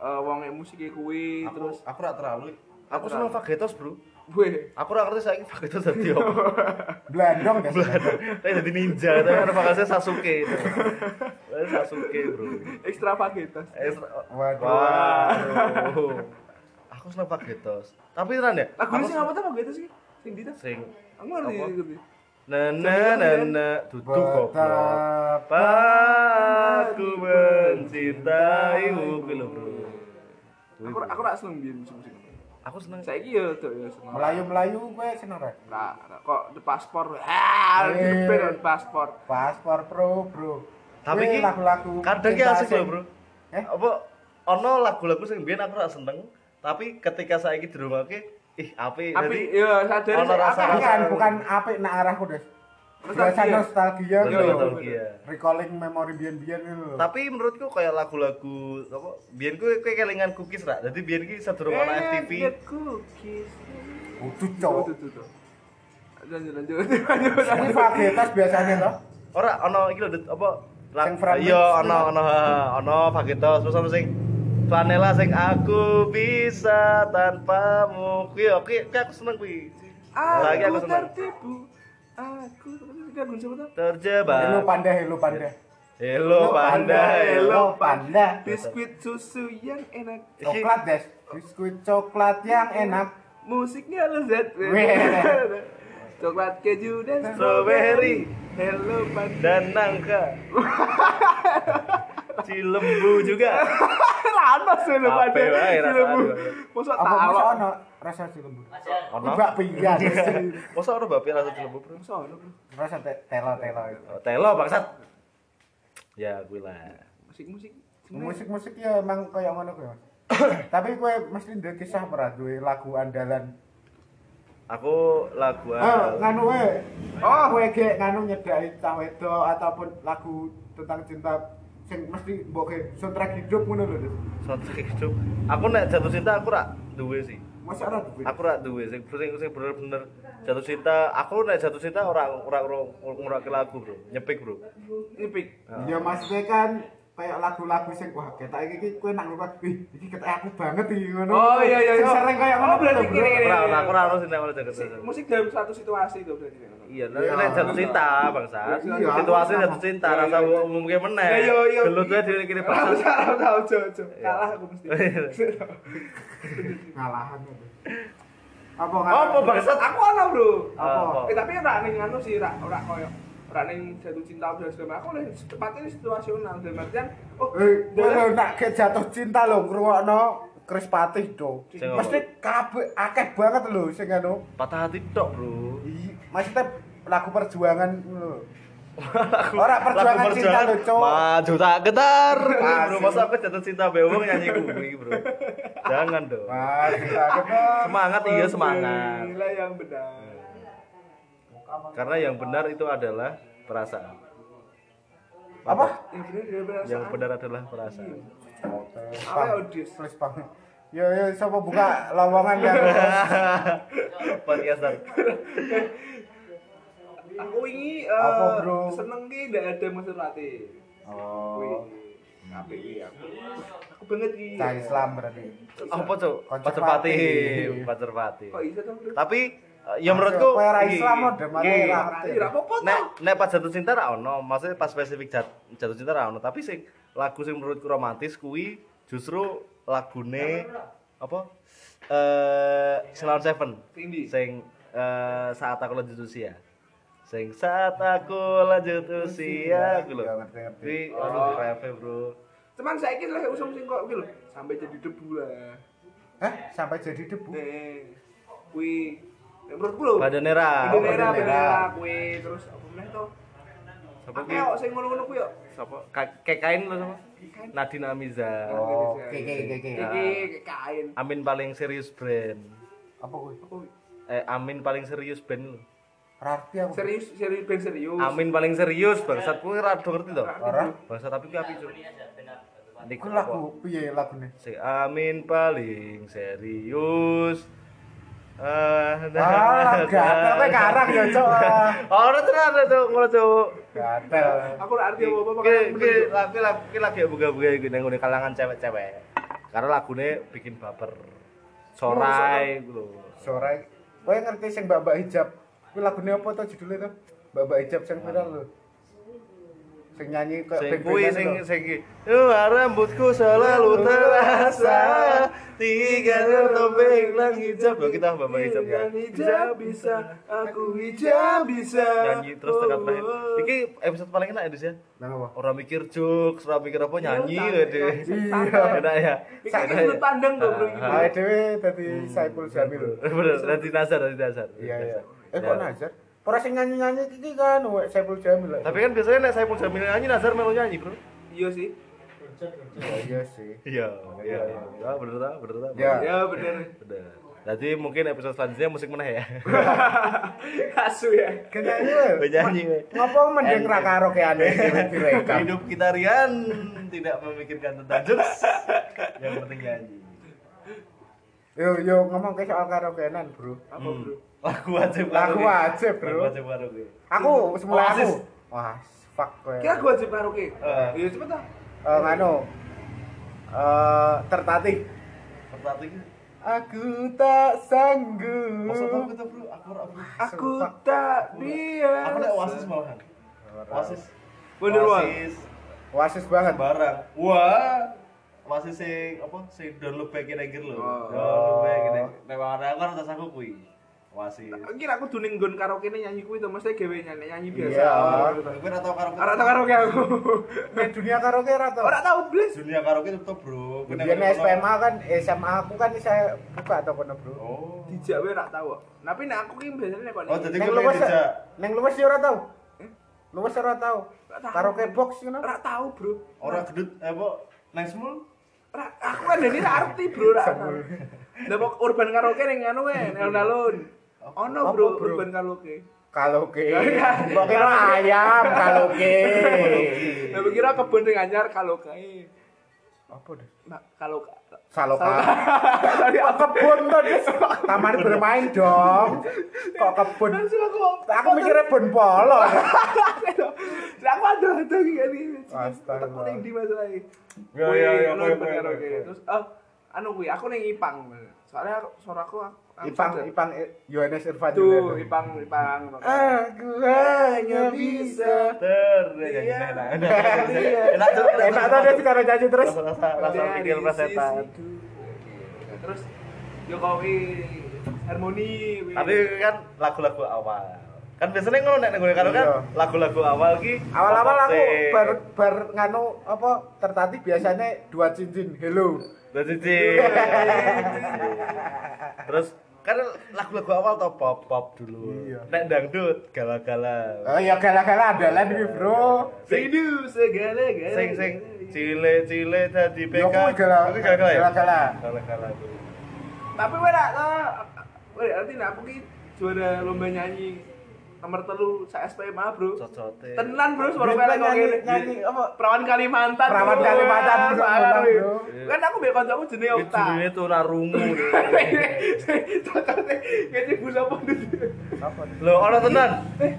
eh, wonge musike kuwi Aku terus aku ora terlalu. Aku seneng Vagetos, Bro. gue Aku ora ngerti saiki Vagetos dadi apa. Blandong ya, guys. Kayak dadi ninja, tapi kan makasih Sasuke. Wah, Sasuke, Bro. Eh, ekstravagans. Extra- Waduh. Waduh. Aku seneng Vagetos. Tapi tenan ya? Lagu aku sing apa tuh Pak Geto sih? Sing dita? sing Aku ngerti Apa? ngerti. na na na na tutup goblok Betapa aku mencintaimu kuwi lho bro Aku aku rak seneng biyen musik-musik. aku seneng Saiki yo tuh ya seneng. Melayu-melayu gue seneng rek. Nah, nah, kok the paspor. Ah, Eh. depan on paspor. Paspor pro bro. tapi Gue ki Iya, lagu-lagu kadang ki cinta asik lho sing- bro Eh? apa ono lagu-lagu sing biyen aku ora seneng tapi ketika saiki dirungake ih apik Tapi dadi yo sadar Iya, Ono rasa- Bukan, bukan apik nak arahku des. Biasa Nostalgia. nostalgia Bener, gitu. nostalgia. Recalling memori biyen-biyen gitu. loh. tapi menurutku kayak lagu-lagu apa biyen ku ku kelingan cookies ra dadi biyen ki sedurung Eh, ono FTV iya, Kudu cowok. Eh, Tuh, tuh, tuh. Lanjut, lanjut, lanjut. Ini fakultas biasanya toh. ora ono iki lho Dut, apa la- Sing Franz iya Liszt, ono ono ha, ono Pagitos terus ono sing Flanela sing aku bisa tanpamu kuwi yo, kuwi kuwi aku seneng kuwi Lagi Ah, aku Aku seneng tertipu. Aku tertipu. Aku siapa tuh? Hello terjebak panda, hello panda. Hello panda hello hello panda. Biskuit susu yang enak. Coklat des. Biskuit coklat yang enak. Musiknya lezat. Weh. Nah. Coklat keju Strawberry. dan strawberry. Hello panda. dan nangka Cilembu juga Rano sih lu Apa panda. wae rasa Cilebu. aduh. Mosok Apa tawa. masih ono rasa cilembu? Ono. Mbak Pia. Des. Masa ono bapak rasa cilembu bro Mosok ono, bro. Rasa te- telo-telo itu. Oh, Telo bangsat Ya kuwi lah Musik-musik. Musik-musik ya emang kayak ngono kuwi. Mas. Tapi kowe mesti ndek kisah ora duwe lagu andalan. Aku lagu Eh, awal. nganu kowe. Oh. kowe ge nganu nyedai cah wedok ataupun lagu tentang cinta sing mesti mbok ge soundtrack hidup ngono lho. Des. soundtrack hidup. Aku nek jatuh cinta aku rak duwe sih. Masa ora duwe. Aku rak duwe sing sing sing bener-bener jatuh cinta. Aku nek jatuh cinta ora ora ora ngurake lagu, Bro. Nyepik, Bro. Nyepik. Ya maksudnya kan kayak lagu-lagu sing wah ketok iki iki kowe nang luwat wih iki ketok aku banget iki ngono. Oh, iya, iya, Sing iya. Sering kayak Oh, ngono berarti bro. kiri. Ora ora aku ora ono sing nek jatuh Si- cinta. Musik dalam satu situasi itu berarti. kan? Iya, Iya. nek nek jatuh cinta, Bangsa. Iya. Situasi jatuh cinta Iya, rasa iya, iya. umumke meneh. Ya, yo, yo. Gelut wae dhewe kene Iya. Ora pas. usah, ora usah, ojo, ojo. Kalah aku mesti. Ngalahan. Bro. Apa ngalahan? Apa bangsat? Ah, Aku ono, Bro. Apa? Apa? Eh tapi ora ning anu sih, ora ora koyo ora ning jatuh cinta udah segala aku lebih tepatnya situasional dalam artian oh Eh, kowe dalam- lho nak ke jatuh cinta lho ngrungokno Kris Patih do. Sing apa? Mesti kabeh akeh banget lho sing anu. Patah hati tok, Bro. Iya, maksudnya lagu perjuangan lho. Ora perjuangan Lagu cinta lho, Cok. Maju tak getar. Masih. Bro, masa aku jatuh cinta bewong nyanyi kuwi, Bro. Jangan dong. Wah, cinta ketok. Semangat iya semangat. Pilihlah yang benar. Karena yang benar itu adalah perasaan. Apa? Yang benar yang benar. Yang benar adalah perasaan. Apa audius? Kris Patih. Yo yo sapa buka lowongan ya. Podcastan. Aku ini Apa, eh, Bro? seneng ki ndak ada musim rati. Oh, Kabeh iki aku. Aku banget iki. cah Islam berarti. Apa, Cuk? Pacar Konservatif. pati. Pacar pati. Kok iso to, Bro? Tapi eh, ya menurutku iya. Kowe ora iki- Islam model malah iki. ora Tapi ora apa-apa to. Nek nek pas jatuh cinta ra ono, maksudnya pas spesifik jat- jatuh cinta ra ono, tapi sing lagu sing menurutku romantis kuwi justru lagune apa? Eh, Selon Seven. Sing ndi? Sing eh, saat aku lanjut usia. Sing saat aku lanjut usia gitu. Ya, ngerti, ngerti. Kuwi aduh reve, Bro. Cuman saiki lek usum sing kok iki lho, sampai jadi debu lah. Hah, sampai jadi debu. Nih. Kuwi Nek menurutku lho. Badan era. Badan era, Badan badan era. era kuwi terus apa meneh to? Sapa Akeh kuwi? kok sing ngono-ngono kuwi yo. Sapa? Ka- Kekain lho sapa? Nadine Amiza. Oh, oke oke oke, oke. Iki kain. Amin paling serius brand. Apa kuwi? Apa kuwi? Eh, Amin paling serius band llu. Berarti aku. Serius, serius, ben serius. Amin paling serius bangsat kuwi ra do ngerti to. Ora. Bangsat tapi kuwi apik cuk. Niku Iku lagu piye lagune? Si Amin paling serius. Ah, Oh, Alah, gatel kowe karang ya, Cok. Ah, Ora tenan itu ngono cuk. Gatel. Aku ora arti apa-apa Ki makanya aku ki menunjuk. lagi lagi lagi buka-buka iki nang ngene kalangan cewek-cewek. Karena lagune bikin baper. Sorai gitu. Sore. Kowe ngerti sing Mbak-mbak hijab? Kuwi lagune apa to judule to? Mbak-mbak hijab sing viral lho. Sing nyanyi kan kok sing band-bandan kuwi sing lho. sing ki. Wah, rambutku selalu terasa tinggi kan topeng lang hijab Loh, kita bapak hijab kan Dengan hijab bisa, aku hijab bisa. nyanyi terus tekan Oh, terakhir oh. iki episode paling enak ya Dis, ya Nang apa? orang mikir jokes orang mikir apa nyanyi Iya, lho deh santai. enak ya Iki kan Enak sudut ya? Ah, pandang kok, Bro, iki, Bro. Ae dhewe dadi Saiful Jamil. bener nanti nazar nanti nazar Iya iya. Eh Nanti kok Nazar. Ya. Nazar? Ora sing nyanyi-nyanyi iki kan wek Saiful Jamil. tapi kan biasanya nek saya pun jamin nyanyi nazar melu nyanyi bro Iya sih. Ya, iya sih. iya iya iya bener tak bener tak Ya. Ya bener. bener jadi mungkin episode selanjutnya musik meneh ya Asu ya. Kenyanyi lho. Nyanyi, weh. Ngopo mending ra karaokean direkam. hidup kita Rian tidak memikirkan tentang jokes yang penting nyanyi Yo yo ngomong ke soal karaokeanan, Bro. Apa, Bro? lagu wajib Lagu wajib, bro. lagu wajib karaoke Aku semula Oasis. aku. Wah, fuck kowe. Kira gua wajib karaoke. Eh. Iya cepet lah. Eh, nganu. Eh, tertatih. pertama ini Aku tak sanggup. maksud aku tuh bro aku ora bro Aku tak aku nek biasa. oasis malahan oasis Wonderwall. oasis Wasis banget. barang wah oasis sing apa sing don't look back in anger lho Oh. don't look back in anger nek warna aku ora tas aku kuwi oasis Kira aku duning gon karaoke nih nyanyi kuwi to mesti gawe nyanyi nyanyi biasa. Iya. gue ora tau karaoke Ora tau karaoke aku. Nek dunia karaoke ora to. Ora tau blis. dunia karaoke tutup bro Gue nek Biyen kono- SPMA kan eh, SMA aku kan saya buka to kono, Bro. oh Dijak wae ora tau. kok. Tapi nek aku ki biasanya nek kok Oh, nyanyi. jadi Neng gue pengen luwes dijak neng luwes ya ora tau. Luwes ya, ora tau. Ora tau. Karaoke box ngono. Nah. ora tau, Bro. orang gedut eh apa nang semul Ora aku kandhane ra arti, Bro, ra. Lah kok urban karaoke ning ngono wae, alun-alun. Ono, Apa, Bro, Bro? urban karaoke. Karaoke. Kok kira ayam karaoke. Lah kira kebon ning anyar karaoke. Apa deh? Nah, kalau Saloka. Kok kebun tuh, Des? Taman bermain dong. Kok kebun? langsung aku Aku mikirnya bon polo. Lah aku ada ada gini. Astaga. Aku ning di masalahnya. Ya, Kuwi ya, ya, ono kuwi, urban kuwi, karaoke. kuwi. Terus eh anu kuwi aku ning Ipang. Soalnya aku- suara aku aku- Ipang, Ipang, eh, Ah. Yohanes Irfan tuh dong. Ipang Ipang. Aku hanya bisa. Ter, Iya. ya, enak, enak. Iya. Enak tuh, Enak tuh Des sekarang nyanyi terus. Rasa, Iya, rasa Dari pikir persetan. sisiku. Terus Jokowi harmoni. wih. Tapi kan lagu-lagu awal. Kan biasanya ngono nek nggone karo kan Iya. lagu-lagu awal ki Awal-awal aku sing- bar bar nganu apa tertatih biasanya dua cincin. Hello. Terus cici. Iya. Terus kan lagu-lagu awal to pop pop dulu. Iya. Nek dangdut gala-gala. Oh ya gala-gala andalan iki, Bro. Rindu segala-gala. Sing iya, sing cile cile tadi PK. Yo kuwi gala- Kuwi gala-gala. ya? gala-gala. Gala-gala. kuwi. Tapi wae lah. Wae nanti nak aku ki juara lomba nyanyi nomor telu sa SPMA, Bro. Cocote. Tenan, Bro, suara Bintang pelek kok nyanyi- ngene. nyanyi apa? Perawan Kalimantan. Perawan Bro. Kalimantan, Wah, Bro. parah, wih. Bro. Kan aku mbek kancaku jenenge Kuwi Okta. jenenge tunarungu. Cocote ngene gula apa dulu. Lho, ana tenan.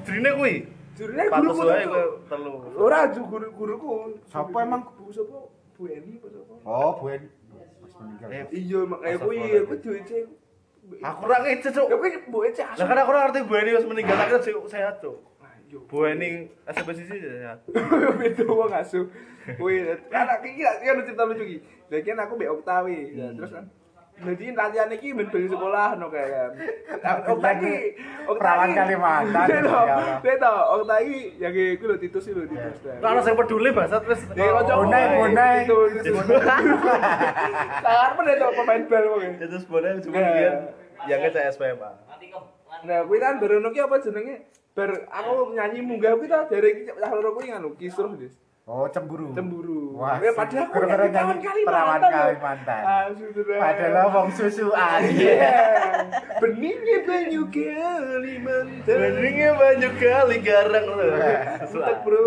Drine kuwi. Jurune Pantes guruku wae tuh. kuwi telu. Ora ju guru guruku. Sapa emang? Bu sapa? Bu Eni apa sapa? Oh, Bu En. Mas meninggal. Eh, Iya makanya Masa kuwi bola? aku duwe Aku ora ngece, Cuk. Ya kuwi Bu Eni cek Lah asu. kan aku ora ngerti Bu Eni wis meninggal, tak kira se- sehat, Cuk. Ayo. Bu Eni SPCC sehat. Beda wong asu. Kuwi kan aku iki kan ono cerita lucu iki. Lah kan aku mbek Oktawi. Lah terus kan jadi latihan iki ben ben sekolah no kayak. Oktawi. Perawan Kalimantan, Betul. ya Allah. Betul. Oktawi ya iki lho titus lho titus. Lah ana sing peduli bahasa wis. Ya kocok. Bonai, bonai. Titus. Sangar pedet pemain bal wong. Itu sebenarnya cuma Ya, Nah. dia yang ke SPMA. Nah, kuwi kan barono ki apa jenenge? Bar aku nyanyi munggah kuwi ta dari iki cah loro kuwi nganu kisruh, Dis. Oh, cemburu. Cemburu. Wah, Eh, padahal aku gara-gara nyanyi perawan Kalimantan. nyanyi Perawan loh. Kalimantan. Astagfirullah. Padahal wong susuan. Iya. Beningnya banyu Kalimantan. Beningnya banyak kali garang loh. Sutek, Bro.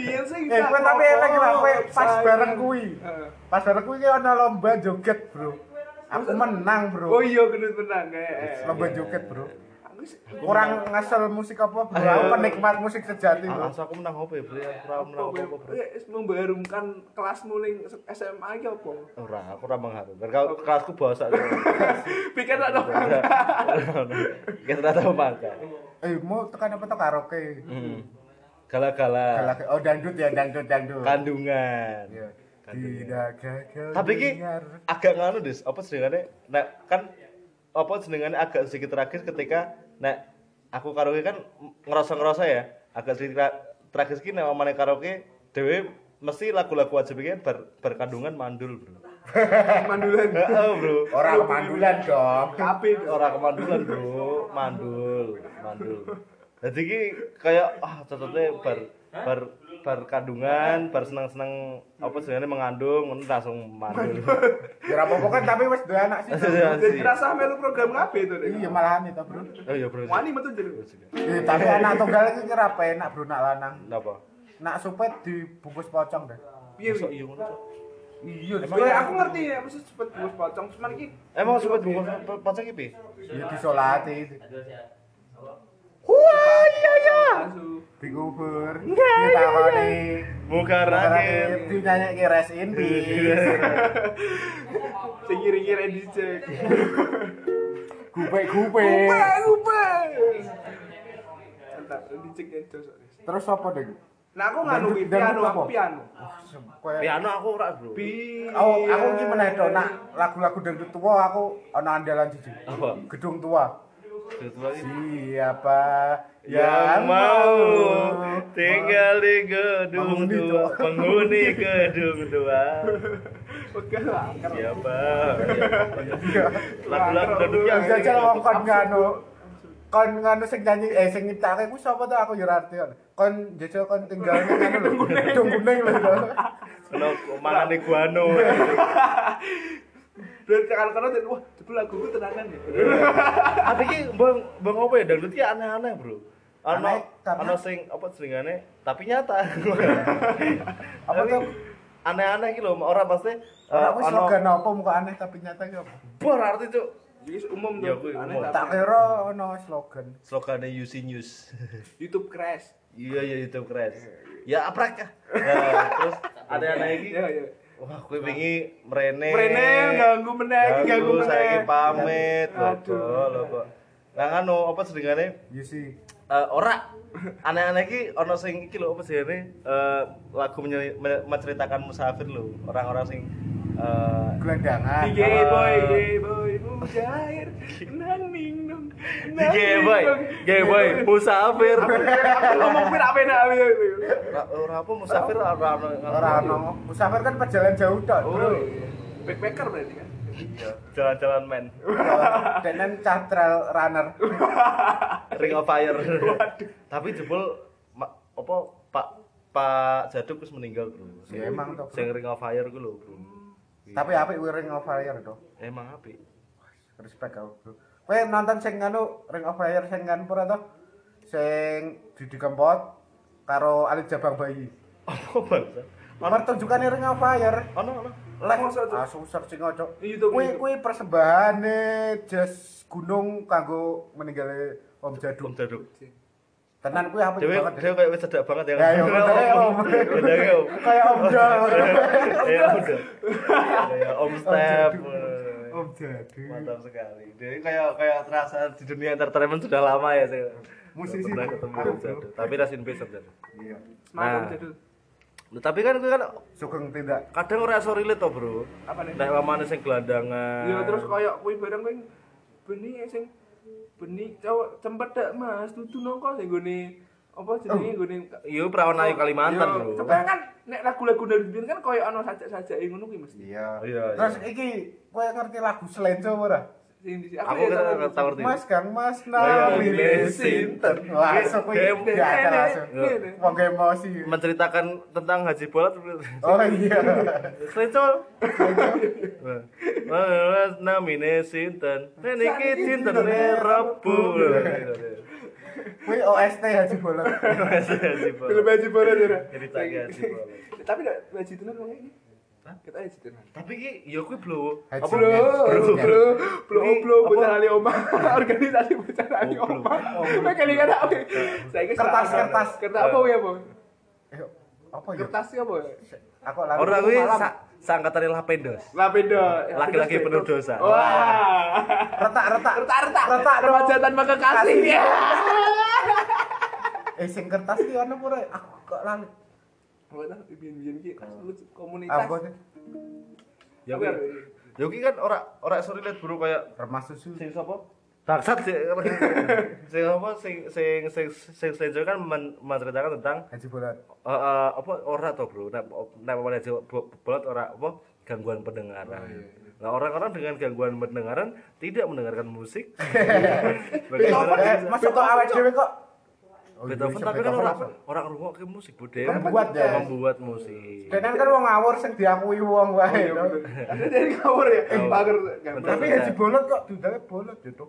Iya sing. Eh, tak kowe tapi ngomong, elek lah kowe pas sayang. bareng kuwi. Heeh. Pas bareng kuwi ki ana lomba joget, Bro. Aku menang, Bro. Oh iya, gendut menang kayak. Lomba joget, Bro. eh, Aku sih- Kurang ngasal musik apa, Bro. Aku penikmat musik sejati, Bro. Langsung aku menang apa ya, Bro? Aku ora menang apa-apa, Bro. Eh, membarumkan kelasmu ning SMA iki apa? Ora, aku ora mengharumkan. Kau kelasku bahasa. Pikir tak tahu. Kita ora tahu mangka. Eh, mau tekan apa tuh karaoke? Hmm. Gala-gala Galak- Oh, dangdut ya, dangdut, dangdut. kandungan. Iya. Tidak gagal. Tapi ki dengar. agak nganu Des, apa jenengane? Nek kan apa jenengane agak sedikit tragis ketika nek aku karaoke kan ngerasa-ngerasa ya, agak sedikit tra- tragis ki nek omane karaoke dhewe mesti lagu-lagu wajib iki ber, berkandungan mandul, Bro. Mandulan. Heeh, Bro. orang mandulan dong. Kabeh Ora kemandulan, Bro. Mandul, mandul. Jadi ki kayak ah cocoknya ber ber berkandungan, bersenang-senang apa jenengane mengandung, ngono langsung mandul. Ya ora apa-apa kan tapi wis dua anak sih. Jadi rasa melu program kabeh to nek. Iya malahan itu, Bro. Oh iya, Bro. Wani metu jero. Eh, tapi anak tunggal iki kira apa enak, Bro, nak lanang. Napa? Nak supet dibungkus pocong deh. Piye Masa iki? iya ngono, Cok? Iya, Ya aku ngerti ya mesti cepet bungkus pocong cuman iki Emang sobat bungkus po- pocong iki piye? Ya disolati. Wah, iya ya. Dikubur. Ditakoni. Muka Rakit rakit. dinyanyi rest in peace. Sing kiri-kiri dicek. Gupe-gupe. Wah, upe. Entar dicek ya dosa. Terus apa deh? Nah aku nganu iki Dan- dan piano apa? aku piano. Kayak- Piano aku ora, Bro. Bi. Oh, aku iki meneh to nak lagu-lagu dangdut tua aku ana andalan jujur. Apa? Gedung tua. Ketua ini. Siapa Yang mau tinggal di Penghuni gedung tua. dua, penghuni gedung dua. Oke lah. Siapa? Lagu-lagu dangdut yang yang jajal wong kon nganu kon nganu sing nyanyi eh sing nyiptake ku Eh, sapa to aku yo ora arti kon jajal kon tinggal nganu lho. Gedung kuning lho. no mangane guano Dan tekan kono dan wah, itu laguku tenanan ya. tapi ki bang bang apa ya dangdut ki aneh-aneh bro Aneh, ana karena- ana sing apa jenengane tapi nyata Apa Tapi tuh? aneh-aneh ki lho ora pasti eh, Ora wis ana slogan apa muka aneh tapi nyata ya apa? bor arti cuk Jadi umum Ya, tuh. kuy, aneh umum. tapi Tak kira ono slogan. slogane UC News YouTube crash. iya iya itu keren ya aprak ya Nah, terus aneh-aneh iki Iya, iya. wah kowe wingi mrene Mrene ganggu meneh, Nah, ganggu ganggu meneh. saiki pamit lho Aduh. kok lho kok nah anu apa sedengane Yusi. Eh, ora aneh-aneh iki ono sing iki lho apa jenenge Eh, lagu menye- me- menceritakan musafir lho orang-orang sing eh, Gelandangan. DJ boy, DJ boy, mujair, nang ning nong. nang Gay ning boy, nong. gay boy, musafir. Aku ngomong penak-penak aku. Ora ora apa musafir ora ono. Ora ono. Musafir kan perjalanan jauh tok, Bro. Oh, iya. backpacker berarti kan. Jalan-jalan men. Denen cah trail runner. Ring of Fire. Tapi jebul ma- apa Pak Pak Jaduk wis meninggal, Bro. Sing- Ya emang toh. Sing Ring of Fire ku lho, Bro. Tapi apik kuwi Ring of Fire to. Emang apik. Respect aku, Bro. Kowe nonton sing anu Ring of Fire sing kan pura to? Sing Didi Kempot karo Ali Jabang Bayi. Apa bangsa? Ono Pertunjukane Ring of Fire. ono ono. Live Masa, Cuk? ah susah sing ojo. YouTube, Kuwi YouTube. kuwi persembahane Jas Gunung kanggo meninggalé Om Jaduk. Om Jaduk. Tenan kuwi apik Dewe banget. dewe kayak wis cedak banget ya. Ya, ya, bener ya, Om. Bener ya, Om. Kayak Om Jaduk. Ya, udah. Ya, Om Step. Om Jaduk. Mantap sekali. Jadi kayak kayak terasa di dunia entertainment sudah lama ya saya. Musisi. Pernah ketemu Om Jaduk. Tapi rest in peace Om Jaduk. Iya. Semangat Nah. jadul. Nah, Tapi kan gue kan Sugeng tindak. kadang ora iso relate to, Bro. Apa nih? Nek mamane sing gelandangan. Ya terus koyok kuwi bareng kuwi benih ya, sing benih cowok cempet dak Mas, tutu nongko sing gone apa jenenge gone Yo perawan Iya, ayu Oh. Kalimantan, Bro. kan nek lagu-lagu Nurdin kan koyo ono sajak-sajake ngono kuwi mesti. Iya. Iya, iya. Terus iki kowe ngerti lagu Slenco ora? Sing di ya Aku kan kira tau ngerti. Mas Kang Mas iya, Nawi iya, ini sinten langsung kuwi Game. diatel langsung. Iya. Wong emosi. Menceritakan tentang Haji Bolat. Oh iya. Slecol. Mas namine sinten? Rene iki cintene Rabu. Kuwi OST Haji Bolot. Eh, Haji Film Bolat. Haji Bola ya. Cerita Ki Haji Bolat. Tapi dak Haji Tenan wong iki. Hah? Kita Haji Tenan. Tapi ki ya kuwi bro. Haji Apa Bolat. Bro, bro, bro, Ini bro, apa? bocah ali oma, organisasi bocah ali Oh, bro. oma. Apa kali kan apa? Saya kira Kertas, salah. kertas. kertas apa ya, Bu? Eh, Apa ya? Kertas ya, Bu. Aku lari. Ora kuwi malam. sa- saangkatane Lapendos. Lapendo. Laki-laki penuh dosa. Wah. retak retak Retak, retak. retak Remaja tanpa kekasih. Ya. eh sing kertas iki ono pura aku kok lali Ah, Gua tahu biyen-biyen ki komunitas. apa sih Ya kuwi. Ya kuwi kan ora ora iso relate bro kayak remas susu sing sapa? Bangsat sih. Sing apa sing sing sing sing Slecol kan men- menceritakan tentang Haji Bolat Eh, eh, apa ora to bro nek nek wong Jawa bo- bolot ora apa gangguan pendengaran nah orang-orang dengan gangguan pendengaran tidak mendengarkan musik Beethoven Bagaimana- masuk Eh, kok awet dhewe kok Oh, Beethoven Indonesia tapi kan orang apa? orang ngrungokke musik budaya Membuat, ya. membuat musik Denan kan wong ngawur sing diakui wong wae Iya, no. bener. Ada dari kabur ya. Pagar. Betul. tapi Haji Bolat kok dudane bolot gitu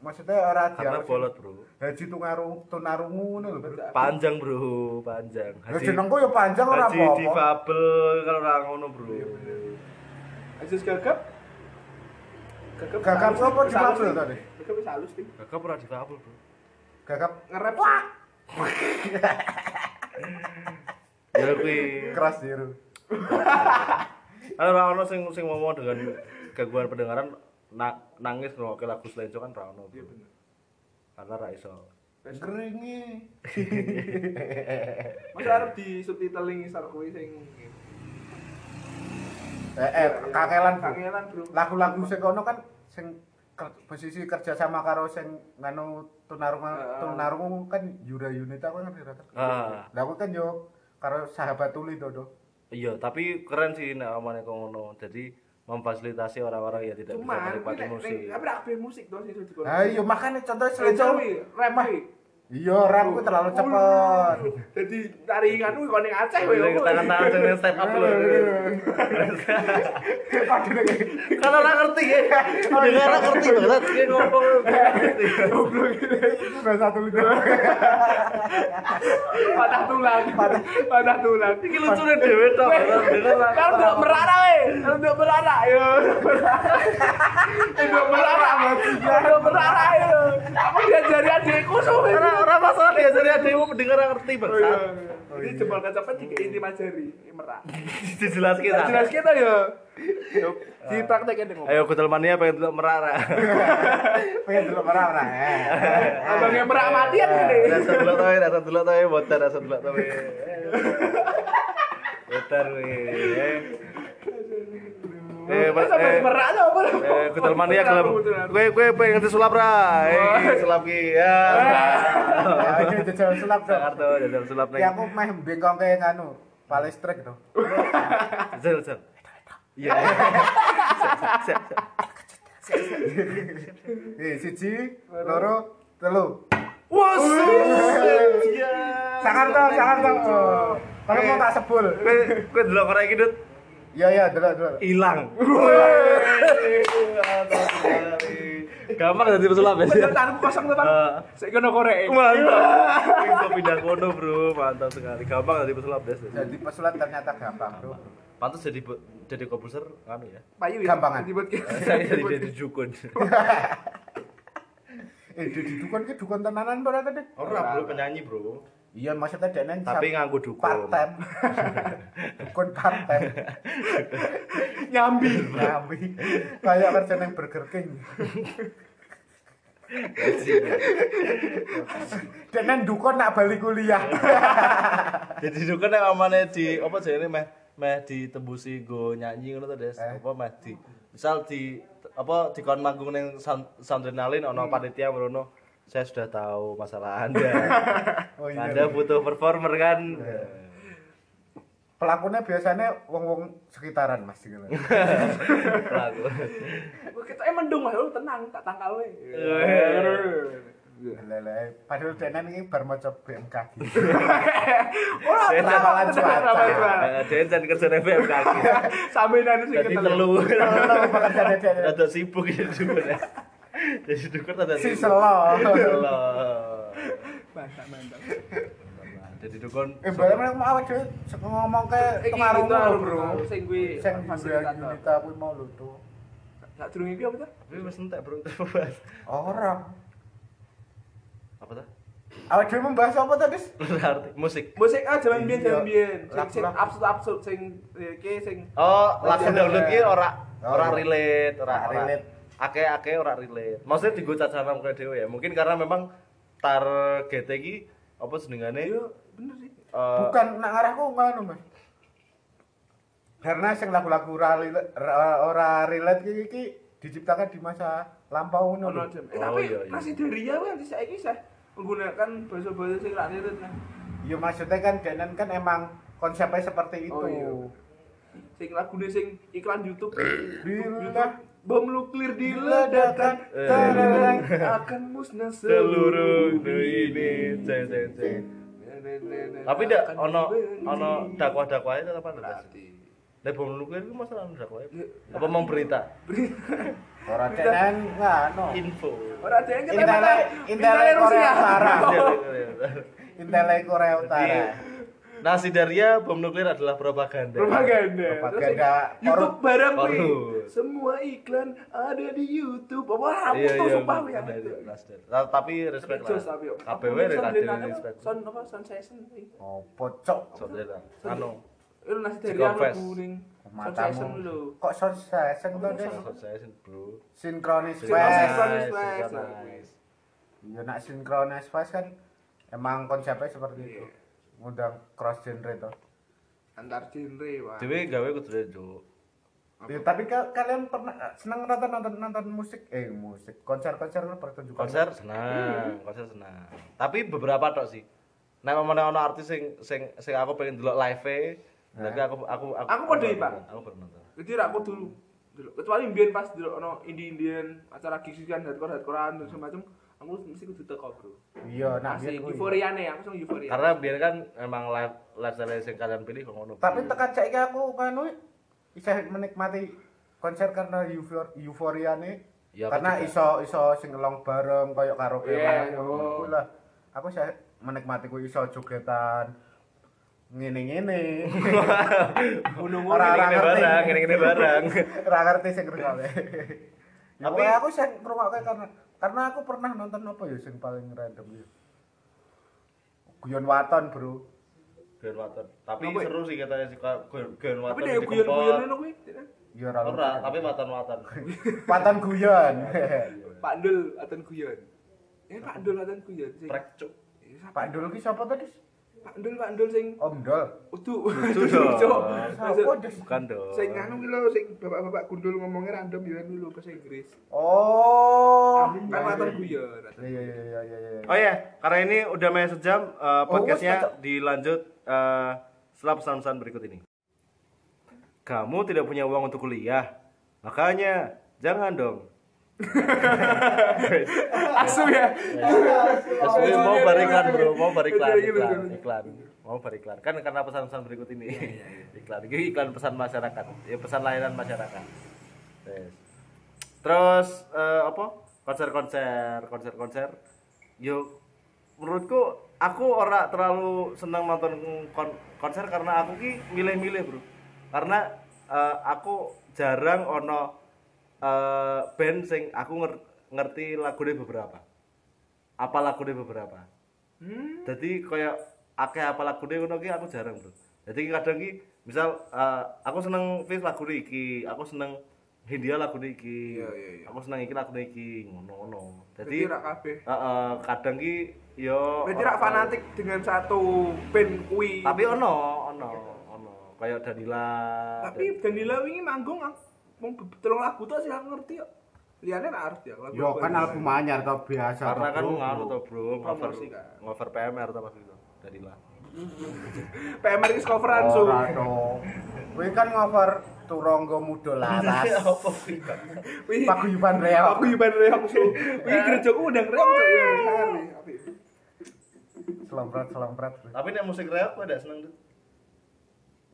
maksudnya ora karena diakui bolot bro Haji tungarung tunarungu ngono lho Bro. panjang bro panjang Lah jenengku ya panjang ora Haji apa-apa difabel kalau orang ngono bro Asus gagap. Gagap. Gagap salus, apa di salus, kabel Dik. tadi? Gagap salus sih. kakak pernah difabel bro gagap Ngerep. Wah. ya kuwi keras diru Ada orang orang sing sing ngomong dengan gangguan pendengaran na- nangis ngrungokke lagu Slenco kan ra ono. Iya bener. Karena ra iso. keringi Masa arep di subtitling isar kuwi sing eh, eh kakelan Bro. Kangelan, Bro. lagu-lagu sing kono kan sing ker- posisi kerja sama karo sing nganu tunarungu Heeh. tunarungu kan Yura Yunita aku ngerti rata. Ah, Lah aku kan yo karo sahabat tuli to do. iya, tapi keren sih nek omane kok ngono. Jadi memfasilitasi orang-orang yang tidak bisa Cuman, menikmati ini- musik. ini- tapi rak band musik tuh sih itu Lah iya makane contoh Selain seleco rap kuwi. Iya, rap ku terlalu cepet. Jadi taringan kuwi koning Aceh kowe. Boleh tangan-tangan sing step up lho. Padahal kayak- Kalau ora ngerti ya. Dengar ora ngerti banget Ki ngomong. nggak ngerti. itu udah satu lucu. patah tulang. Patah tulang. Iki lucune dhewe tok. Bener lah. Kalau udah merara we, kalau udah merara yo. Udah merara Udah merara yo. Aku diajari adikku sobe. Ora ora masalah diajari adekmu pendengar ora ngerti banget. Oh, iya. Jadi jempol kecepet tiga inti majari merak. Dijelaske ta. Jelas kita yo. Yo, Dipraktekin deh ngomong. Ayo kutel mania pengen delok merara. Pengen dulu merah merah. eh. Iya. Abangnya merak mati kan gini. Rasa delok to, rasa delok to, botar rasa delok to. Botar we. Eh, Eh, eh, sampai merak tuh apa? Eh, kutel mania gelem. Kowe kowe pengen ngerti sulap ra? Eh, sulap ki. Ya. Ayo jajal sulap dong. Jakarta jajal sulap ning. Eh. Ya aku meh bengkong kayak nganu. Palestrik tuh. Jajal jajal. Iya. Eh, siji, loro, telu. Wes. Sangar toh, sangar toh. Oh, Kalau mau tak sebul. Kowe kowe Eh, delok ora iki, Dut? Iya, iya, dulu, dulu. Hilang. Gampang jadi pesulap ya. Tanganku kosong tuh bang. Saya kena korek. Mantap. Bisa pindah kono, Bro. Mantap sekali. Gampang jadi pesulap des. Jadi pesulap ternyata gampang, bro. Pantas jadi bu- jadi komposer anu ya. Payu ya. Gampangan. Dibuat kayak- Saya jadi jadi dukun. Eh, di dukun ke dukun tenanan berapa tadi? Ora, Bro, penyanyi, Bro. Iya, maksudnya dene Tapi sam- nganggo dukun. part time. dukun part time. nyambi. Nyambi. Kayak kerja yang Burger King. Dene dukun nak balik kuliah. Jadi dukun nek amane di apa jenenge meh meh ditembusi go nyanyi ngono to, Des. Apa meh di misal di apa dikon manggung ning Sound- Soundrenalin ono panitia merono. Saya sudah tahu masalah Anda. Oh iya. Anda butuh performer kan? Pelakunya biasanya wong-wong sekitaran Mas gitu. Lagu. Kita eh mendung mas, lu tenang, tak tangkal we. Iya, Lele, padahal dene iki bar maca BMKG. Ora Saya tenang, ramalan tenang, cuaca. ramalan cuaca. Eh, Dean jan kerja nang Iya, BMKG. Sambil nanti sih Jadi kita telu. Kalau pekerjaane dene Rada sibuk ya dukun ya. Jadi dukun rada si sibuk. selo. Allah. Mantap, mantap. Jadi dukun Eh, bareng mau awak dhewe sek ngomong ke Iki pengaruh itu lu, bro, bro. sing gue Sing fasilitator. Yunita kuwi mau lho tuh. Gak durung iki apa tuh? Tapi wis entek, Bro. Terus. Orang. Apa tuh? Awak dhewe membahas apa tadi? Eh. Berarti musik. Musik ah jaman biyen jaman Iya. biyen. Sing sing Lagu-lagu. absurd absurd sing iki sing Oh, lagu iya. dangdut ki ora Oh, ora iya. relate, ora Ora relate. Ake-ake ora relate. Maksudnya digo cacaran kowe dhewe ya. Mungkin karena memang target iki apa jenengane? yo bener sih. eh, Bukan nak ngarahku ngono, anu, Mas. Karena sing lagu-lagu ora rela- ra- ora relate iki iki diciptakan di masa lampau ngono. Ono lho. jam. Eh, Oh, Tapi iya, iya. masih dari ya kan saiki sih menggunakan bahasa-bahasa sing ra nirit nah. Ya maksudnya kan Danan kan emang konsepnya seperti itu. Oh, iya. Sing lagune sing iklan YouTube. Bila Bom nuklir diledakan, diledakan, terang akan musnah seluruh seluruh dunia ini. Cek cek cek. Tapi ndak ono ono dakwah-dakwahe tetep ada. Lah bom nuklir iku masalah dakwahe. Apa mau berita? ora Danan ngono. Info. Orang ada yang Intele- ketemu intele Korea Utara. Intele Korea Jadi, Utara. Nasi Daria Nah, bom nuklir adalah propaganda. Propaganda. Propaganda. Terus yang YouTube barang kuwi. Porno. Semua iklan ada di YouTube. Wah, aku Iya tuh iya. sumpah kuwi yang Dari itu. Nasdem. Nah, Tapi respect lah. Jos tapi yo. KPW Apa, Son relatif Lennon, respect. Son apa? Son Session. kuwi. Opo cok? Saudara. Anu. Itu nasi dari Cikon anu Fest. kuning. Son Session Matamu. lho. Kok sensation to, Des? Saya sih bro. Sinkronis Sinkronis. wes. Nice, Nice, nice. nice. Ya nak sinkronis pas kan emang konsepnya seperti itu. Ngundang cross genre toh. Antar genre, Pak. Dewe gawe kudu rejo. Ya, tapi ka- kalian pernah eh, seneng nonton nonton nonton musik eh musik konser-konser kan pertunjukan. konser Mm-hmm. senang konser senang tapi beberapa tok sih nek mana ono artis sing sing sing aku pengen delok live e tapi aku aku aku Aku podo iki, Pak. aku pernah nonton Jadi rak aku dulu Hmm. dulu kecuali mbien pas dulu ono indie indian acara gigs kan hardcore hardcorean dan semacam aku aku mesti kudu teko bro Iya, nah asli biyen kuwi. euforia nih aku sing euforia Karena biar kan emang live lifestyle sing kalian pilih kok ngono. Tapi tekan saiki aku kanu bisa menikmati konser karena eufor euforia nih. Ya, aku karena juga. iso iso singelong bareng koyo karaoke Iya, bareng yo. ngono kuwi lah. Aku saya menikmati ku iso jogetan ngene-ngene. Gunung Orang-orang ngene-ngene ngerti. barang, ngene-ngene barang. Ora ngerti sing ngrungokke. Tapi Tapi- aku sing ngrungokke karena karena aku pernah nonton apa ya sing paling random ya. Guyon Waton, Bro. Guyon Waton. Tapi Apa ya? seru sih katanya sih Kak, Guyon Guyon Waton. tapi deh di guyon Kempot. guyon ngono kuwi Ya Ora, ora. tapi Waton-Waton. Waton guyon. Pak Dul aten guyon eh Pak Dul aten guyon sing Trek cuk. Eh, siapa? Pak Dul ki sapa tadi? Pak Dul Pak Dul sing Om Dol. udu Udu udu dong. cuk Sapa Des? Bukan dong. sing anu ki lho sing bapak-bapak gundul ngomongnya random yo anu lho bahasa Inggris Oh. kan aten guyon aten Iya iya iya iya iya. Oh ya, karena ini udah main sejam, eh, Oh, wes, podcastnya cocok. dilanjut eh, setelah pesan-pesan berikut ini. Kamu tidak punya uang untuk kuliah, makanya jangan dong. asu ya Asli mau beriklan bro, mau beriklan, Iya, iya, iklan, betul. iklan, mau beriklan. Kan karena pesan-pesan berikut ini, iklan, ini iklan pesan masyarakat, ya pesan layanan masyarakat. Yes. Terus eh, apa? Konser-konser, konser-konser. Yuk, menurutku aku ora terlalu senang nonton kon- konser karena aku ki milih-milih bro. Karena eh, aku jarang ono eh, band sing aku nger- ngerti lagunya beberapa. Apa lagunya beberapa? Hmm. jadi kayak akeh apa lagune ngono ki aku jarang bro jadi kadang ki misal eh, aku seneng Fis lagu iki aku seneng Hindia lagu iki Iya, aku seneng iki lagu iki ngono-ngono jadi jadi rak kabeh eh, eh, kadang ki Oh. yo berarti ora rak tahu. fanatik dengan satu band kui tapi ono ono ono kayak Danila tapi Danila wingi manggung aku mau telung lagu tok sih aku ngerti kok liane nak arep ya lagu Yo kan album anyar to biasa to, karena kan Bro. ngaruh tuh bro ngover Promosi kan. ngover PMR tuh pas itu Danila PMR iki coveran so Ora to. Kuwi kan ngover Turangga Muda Laras. Wih, Paguyuban Reok. Oh, paguyuban reok so wih gerejaku udah reok so ya hari. Apik. Selompret selompret. tapi nek musik rap aku ada seneng tuh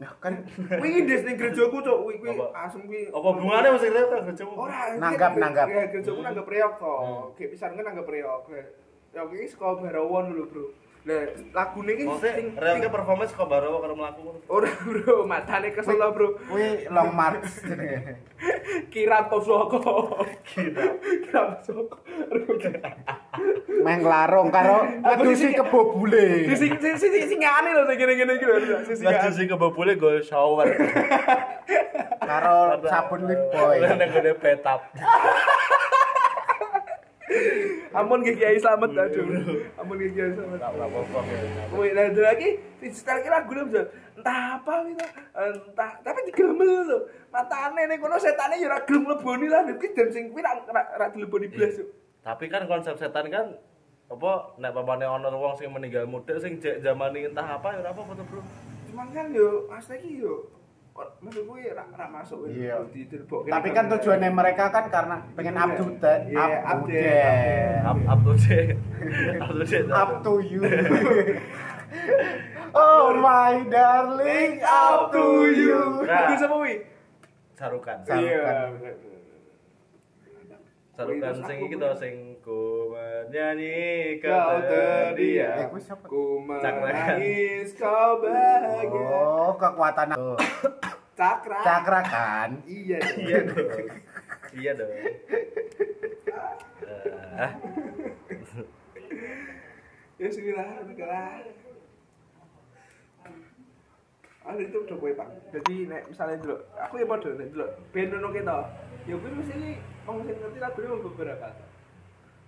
Nah kan wih des ning gerejaku cok wih kuwi Apa? asem kuwi apa bunganya musik rap kan kecemu Ora, Nanggap, iya, nanggap. Iya, gerejaku nanggap reok kok. Hmm. Kayak pisan kan nanggap reok. Ya iki saka Barawan dulu, Bro. Lah, lagune iki maksudnya sing- rapnya performance kok baru kalau melaku ngono. Ora, Bro, matane kesel lah, Bro. kuwi long march jenenge. Kirat Posoko. Kirat. Kirat Posoko. Meng larung karo Dusi kebo bule. Di sing sing sing sing- singane lho sing ngene-ngene iki lho. Sing Nah, singane. justru kebabule gue shower. Karo sabun lip boy. Lah nek gue petap. Ampun Ki Kiai selamat Iya, aduh. Ampun Ki Kiai selamat. Wih, nah itu lagi digital kira gue bisa entah apa gitu, entah tapi digemel tuh. Matane nih kono setane ya ora gelem leboni lah, nek jam sing kuwi ra ra ra dileboni Iya. blas tuh. Tapi kan konsep setan kan apa nek pamane ono wong sing meninggal muda sing jek zamani entah apa ya ora apa foto bro. Cuman kan yo asli ki yo or- maksud gue ra ra masuk Iya. di dilebok. Tapi kan tujuannya mereka kan karena pengen up to date, Iya, up to update, date. Up up to date. Up to date. up to you. oh my darling, up to you. kan. Nah. Gue sama wi. Sarukan. Iya, Sarukan. bener, bener. Sarukan sing iki to sing ku menyanyi Kau Eh, terdiam, gue siapa? ku Cak Ryan. menangis, kau bahagia. Oh, kekuatan Tuh, Cakra. cakra kan. Iya. Iya dong. Iya dong. Eh, Ya sinilah negara. Ada itu udah gue pak. Jadi nek misalnya dulu, aku ya bodoh nek dulu. Band ono kita, ya gue mesti ini mau sing ngerti lagu ini beberapa. toh.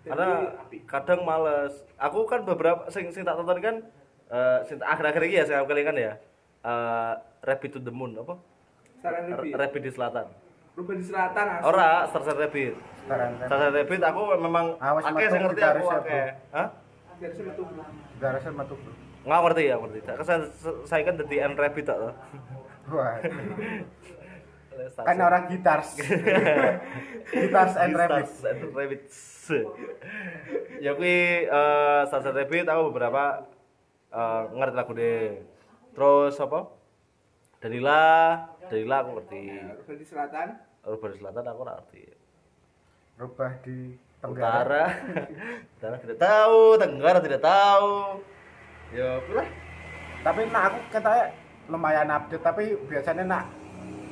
Jadi, karena apik. kadang males aku kan beberapa sing sing tak tonton kan eh sing tak- akhir-akhir ini ya saya kelingan ya eh Rabbit to the Moon apa saran R- lebih. Rabbit di selatan Rumah di selatan. asli. ora Starset Rabbit Starset Rabbit aku memang Awas akeh metu sing ngerti aku gitaris ya, akeh hah Dari sini tuh. Darah sama tuh. nggak ngerti kan ya ngerti saya saya kan jadi N Rabbit tak Wah. kan orang gitars gitars and rabbits Stars and Rabbits. ya kui eh Stars and Rabbits aku beberapa eh, ngerti lagu deh. Terus apa? Danila, Danila aku ngerti. Urban di selatan Urban di Selatan aku nggak ngerti. rubah di tenggara Utara, Utara tidak tahu, Tenggara tidak tahu. Ya, pula. tapi nak aku katanya lumayan update tapi biasanya nak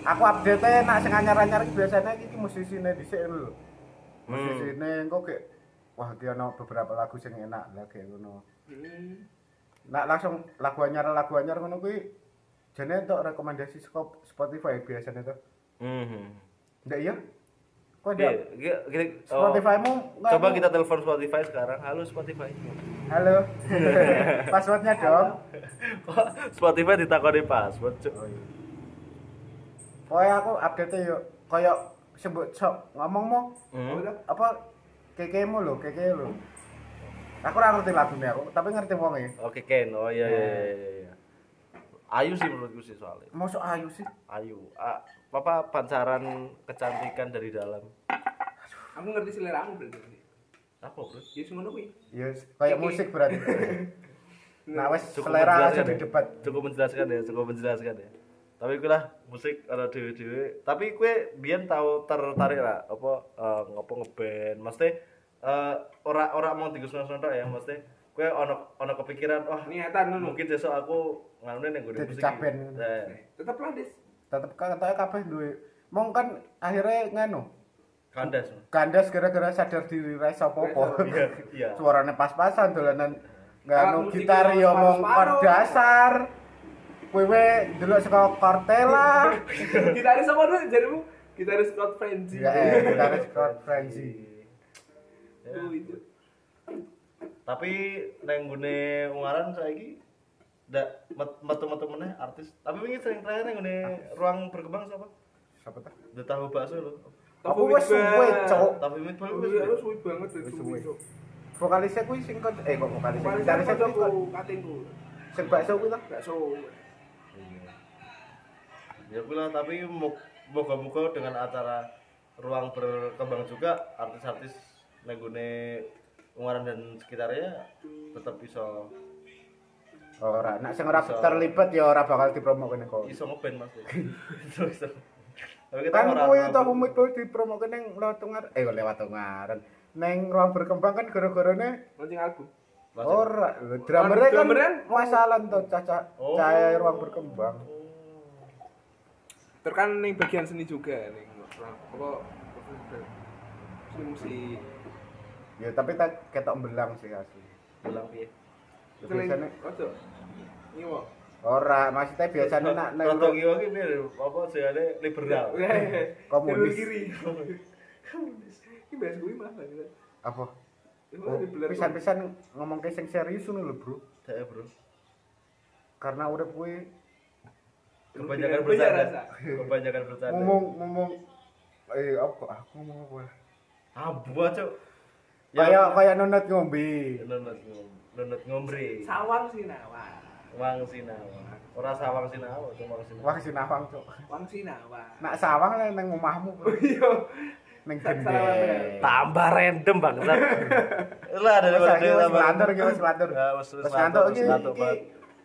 aku update nya nak sing anyar anyar biasanya iki musisi ini di sini lho Hmm, musisi ini engko kayak wah iki ono beberapa lagu sing enak lah kayak ngono nak langsung lagu anyar lagu anyar ngono kuwi jane entuk rekomendasi skop Spotify biasanya tuh Hmm. ndak iya kok Oke, ndak kita- kita- oh, Spotify-mu nggak coba ada? kita telepon Spotify sekarang. Halo Spotify. halo passwordnya dong Kok Spotify ditakoni password, Cuk? Oh, iya. pokoknya aku update yuk koyok sebut sok ngomong mau Hmm. apa tuh? apa kekemu lo keke lo aku ora ngerti lagunya aku tapi ngerti wonge Oke Ken, oh iya Nah. iya iya, iya iya. Ayu sih menurutku sih soalnya. masuk ayu sih Ayu, ah, apa pancaran kecantikan dari dalam? aku ngerti seleramu berarti Apa bro? ya sing ngono kuwi ya kayak Keke. musik berarti nah wes Cukup selera aja menjelaskan ya. didebat Cukup menjelaskan ya, cukup menjelaskan ya. Tapi gue lah musik ada dewe dewe. Tapi gue biar tahu tertarik lah apa eh, ngopo ngeband. Maksudnya eh ora ora mau tiga suara suara ya, maksudnya gue ono ono kepikiran, wah Iya, niatan ngono mungkin besok aku ngalunin yang gue Jadi capen. Eh, teteplah des tetep katanya kabeh duwe mong kan akhirnya nganu kandas. kandas gara-gara sadar diri res apa-apa Iya, iya. suaranya pas-pasan dolanan Alat nganu musik gitar yang yo mong separuh-separuh. chord dasar kowe delok saka Cortella kita ada sama dulu jadimu kita ada Scott Frenzy ya eh gitaris Scott Iya, Frenzy Tuh, itu tapi neng gune ungaran saiki ndak metu-metu meneh artis tapi wingi sering terakhir neng gune ruang berkembang siapa siapa tuh the tahu bakso lho aku wes suwe cok tapi wit Wih, baru aku wis suwe banget dari suwe cok vokalisnya kuwi sing kon eh kok vokalisnya paling gitarisnya kuwi kon aku katengku sing bakso kuwi lah bakso ya pula tapi mo- moga-moga dengan acara ruang berkembang juga artis-artis neng gune ungaran dan sekitarnya tetap bisa ora nak sing ora terlibat ya ora bakal dipromokne kok iso ngeband mas iso iso tapi kan ora- kowe ora- tau umit kowe dipromokne ning lewat tungar eh kok lewat tungaran neng ruang berkembang kan gara-garane launching album ya. Ora, drummernya kan Drummernya? masalah tuh caca Oh. cahaya ruang berkembang. terus kan ning bagian seni juga ning orang apa seni musik Ya tapi tak ketok belang sih asli. bilang piye Ya, Biasanya ojo Iya, nyiwa ora, maksudnya biasanya nak nang Roto kiwa ki piye lho, apa jenenge liberal. Komunis. Jalur Eh, kiri komunis ini bahas gue malah gitu apa? Emang Oh, ada beler- pisan-pisan ngomong ke sing serius ngono lho, Bro. Dek, Eh, Bro. Karena urip kuwi Kebanyakan Bener, bercanda. Iya, rasa. Kebanyakan bercanda. ngomong ngomong eh apa aku ngomong apa? Abu cuk. Ya. Kayak kayak nonot ngombe. Nonot ngom- nonot ngombre. sawang sinawang Wang sinawa. Ora sawang sinawa, cuma wang sinawa. Wah sinawang cok. wang sinawang Nak sawang lah nang omahmu, Bro. iya Nang Sak- gendeng. sawang, Tambah random bangsat. Eh. Lah dari dari Wes saiki wes tambah- ngelantur iki wes ngelantur. Ya, wes wes Wes ngelantur, ngantuk wes iki ngelantur iki banget.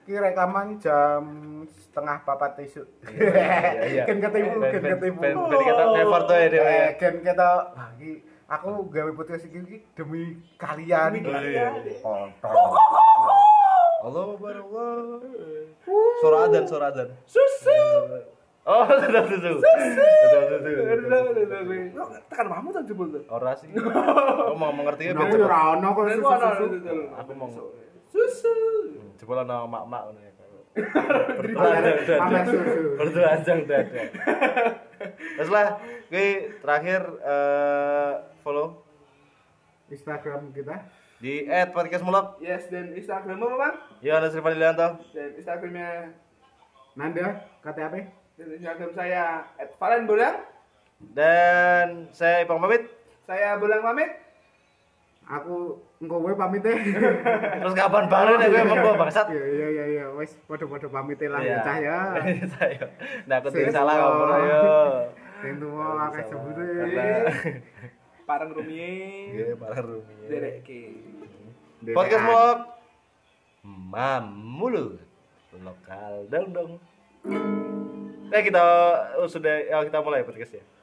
iki rekaman jam setengah papat esuk. Iya, iya. Ken ketipu, Ben- ken ben- ketipu. ben- ben kita never tuh ya dhewe. Eh, Ken kita wah, iki aku gawe podcast iki iki demi kalian. Demi kalian. Kontol. Allahu Akbar, Allah. Suara adzan, suara adzan. Oh, sudah susu. Sudah susu. Aduh, aduh, aduh, aduh. Lo tekan mamu tak jebol tuh Ora sih. Aku mau mengerti ya biar Nah, aku cepet. ora ono Aku kok ada, susu-susu. ada, ada. Aku mau susu jebol ana mak-mak ngono ya. Pamer- Bertelanjang pamer dada. susu. Bertelanjang dada. Terus lah, gue terakhir eh, follow Instagram kita. di @podcastmulak. yes dan Instagram apa bang Ya ada Sri Fadilanto. dan Instagramnya Nanda, KTP. dan Instagram saya at Valen Bolang Dan saya Ipang pamit. saya Bolang pamit aku engko wae pamit deh. Terus kapan bareng ya gue emang gue bangsat. Iya iya iya iya wis padha-padha pamit lah Iya. cah ya. Saya. Nah, aku tuh Saya salah salah. ngomong ayo. Sing tuwa akeh jembure. Parang rumiyin. Gue parah Iya, rumi. Dereke. Podcast vlog. Mamulu. Eh, Lokal dong dong. Nah, oh, kita sudah ya, kita mulai podcastnya.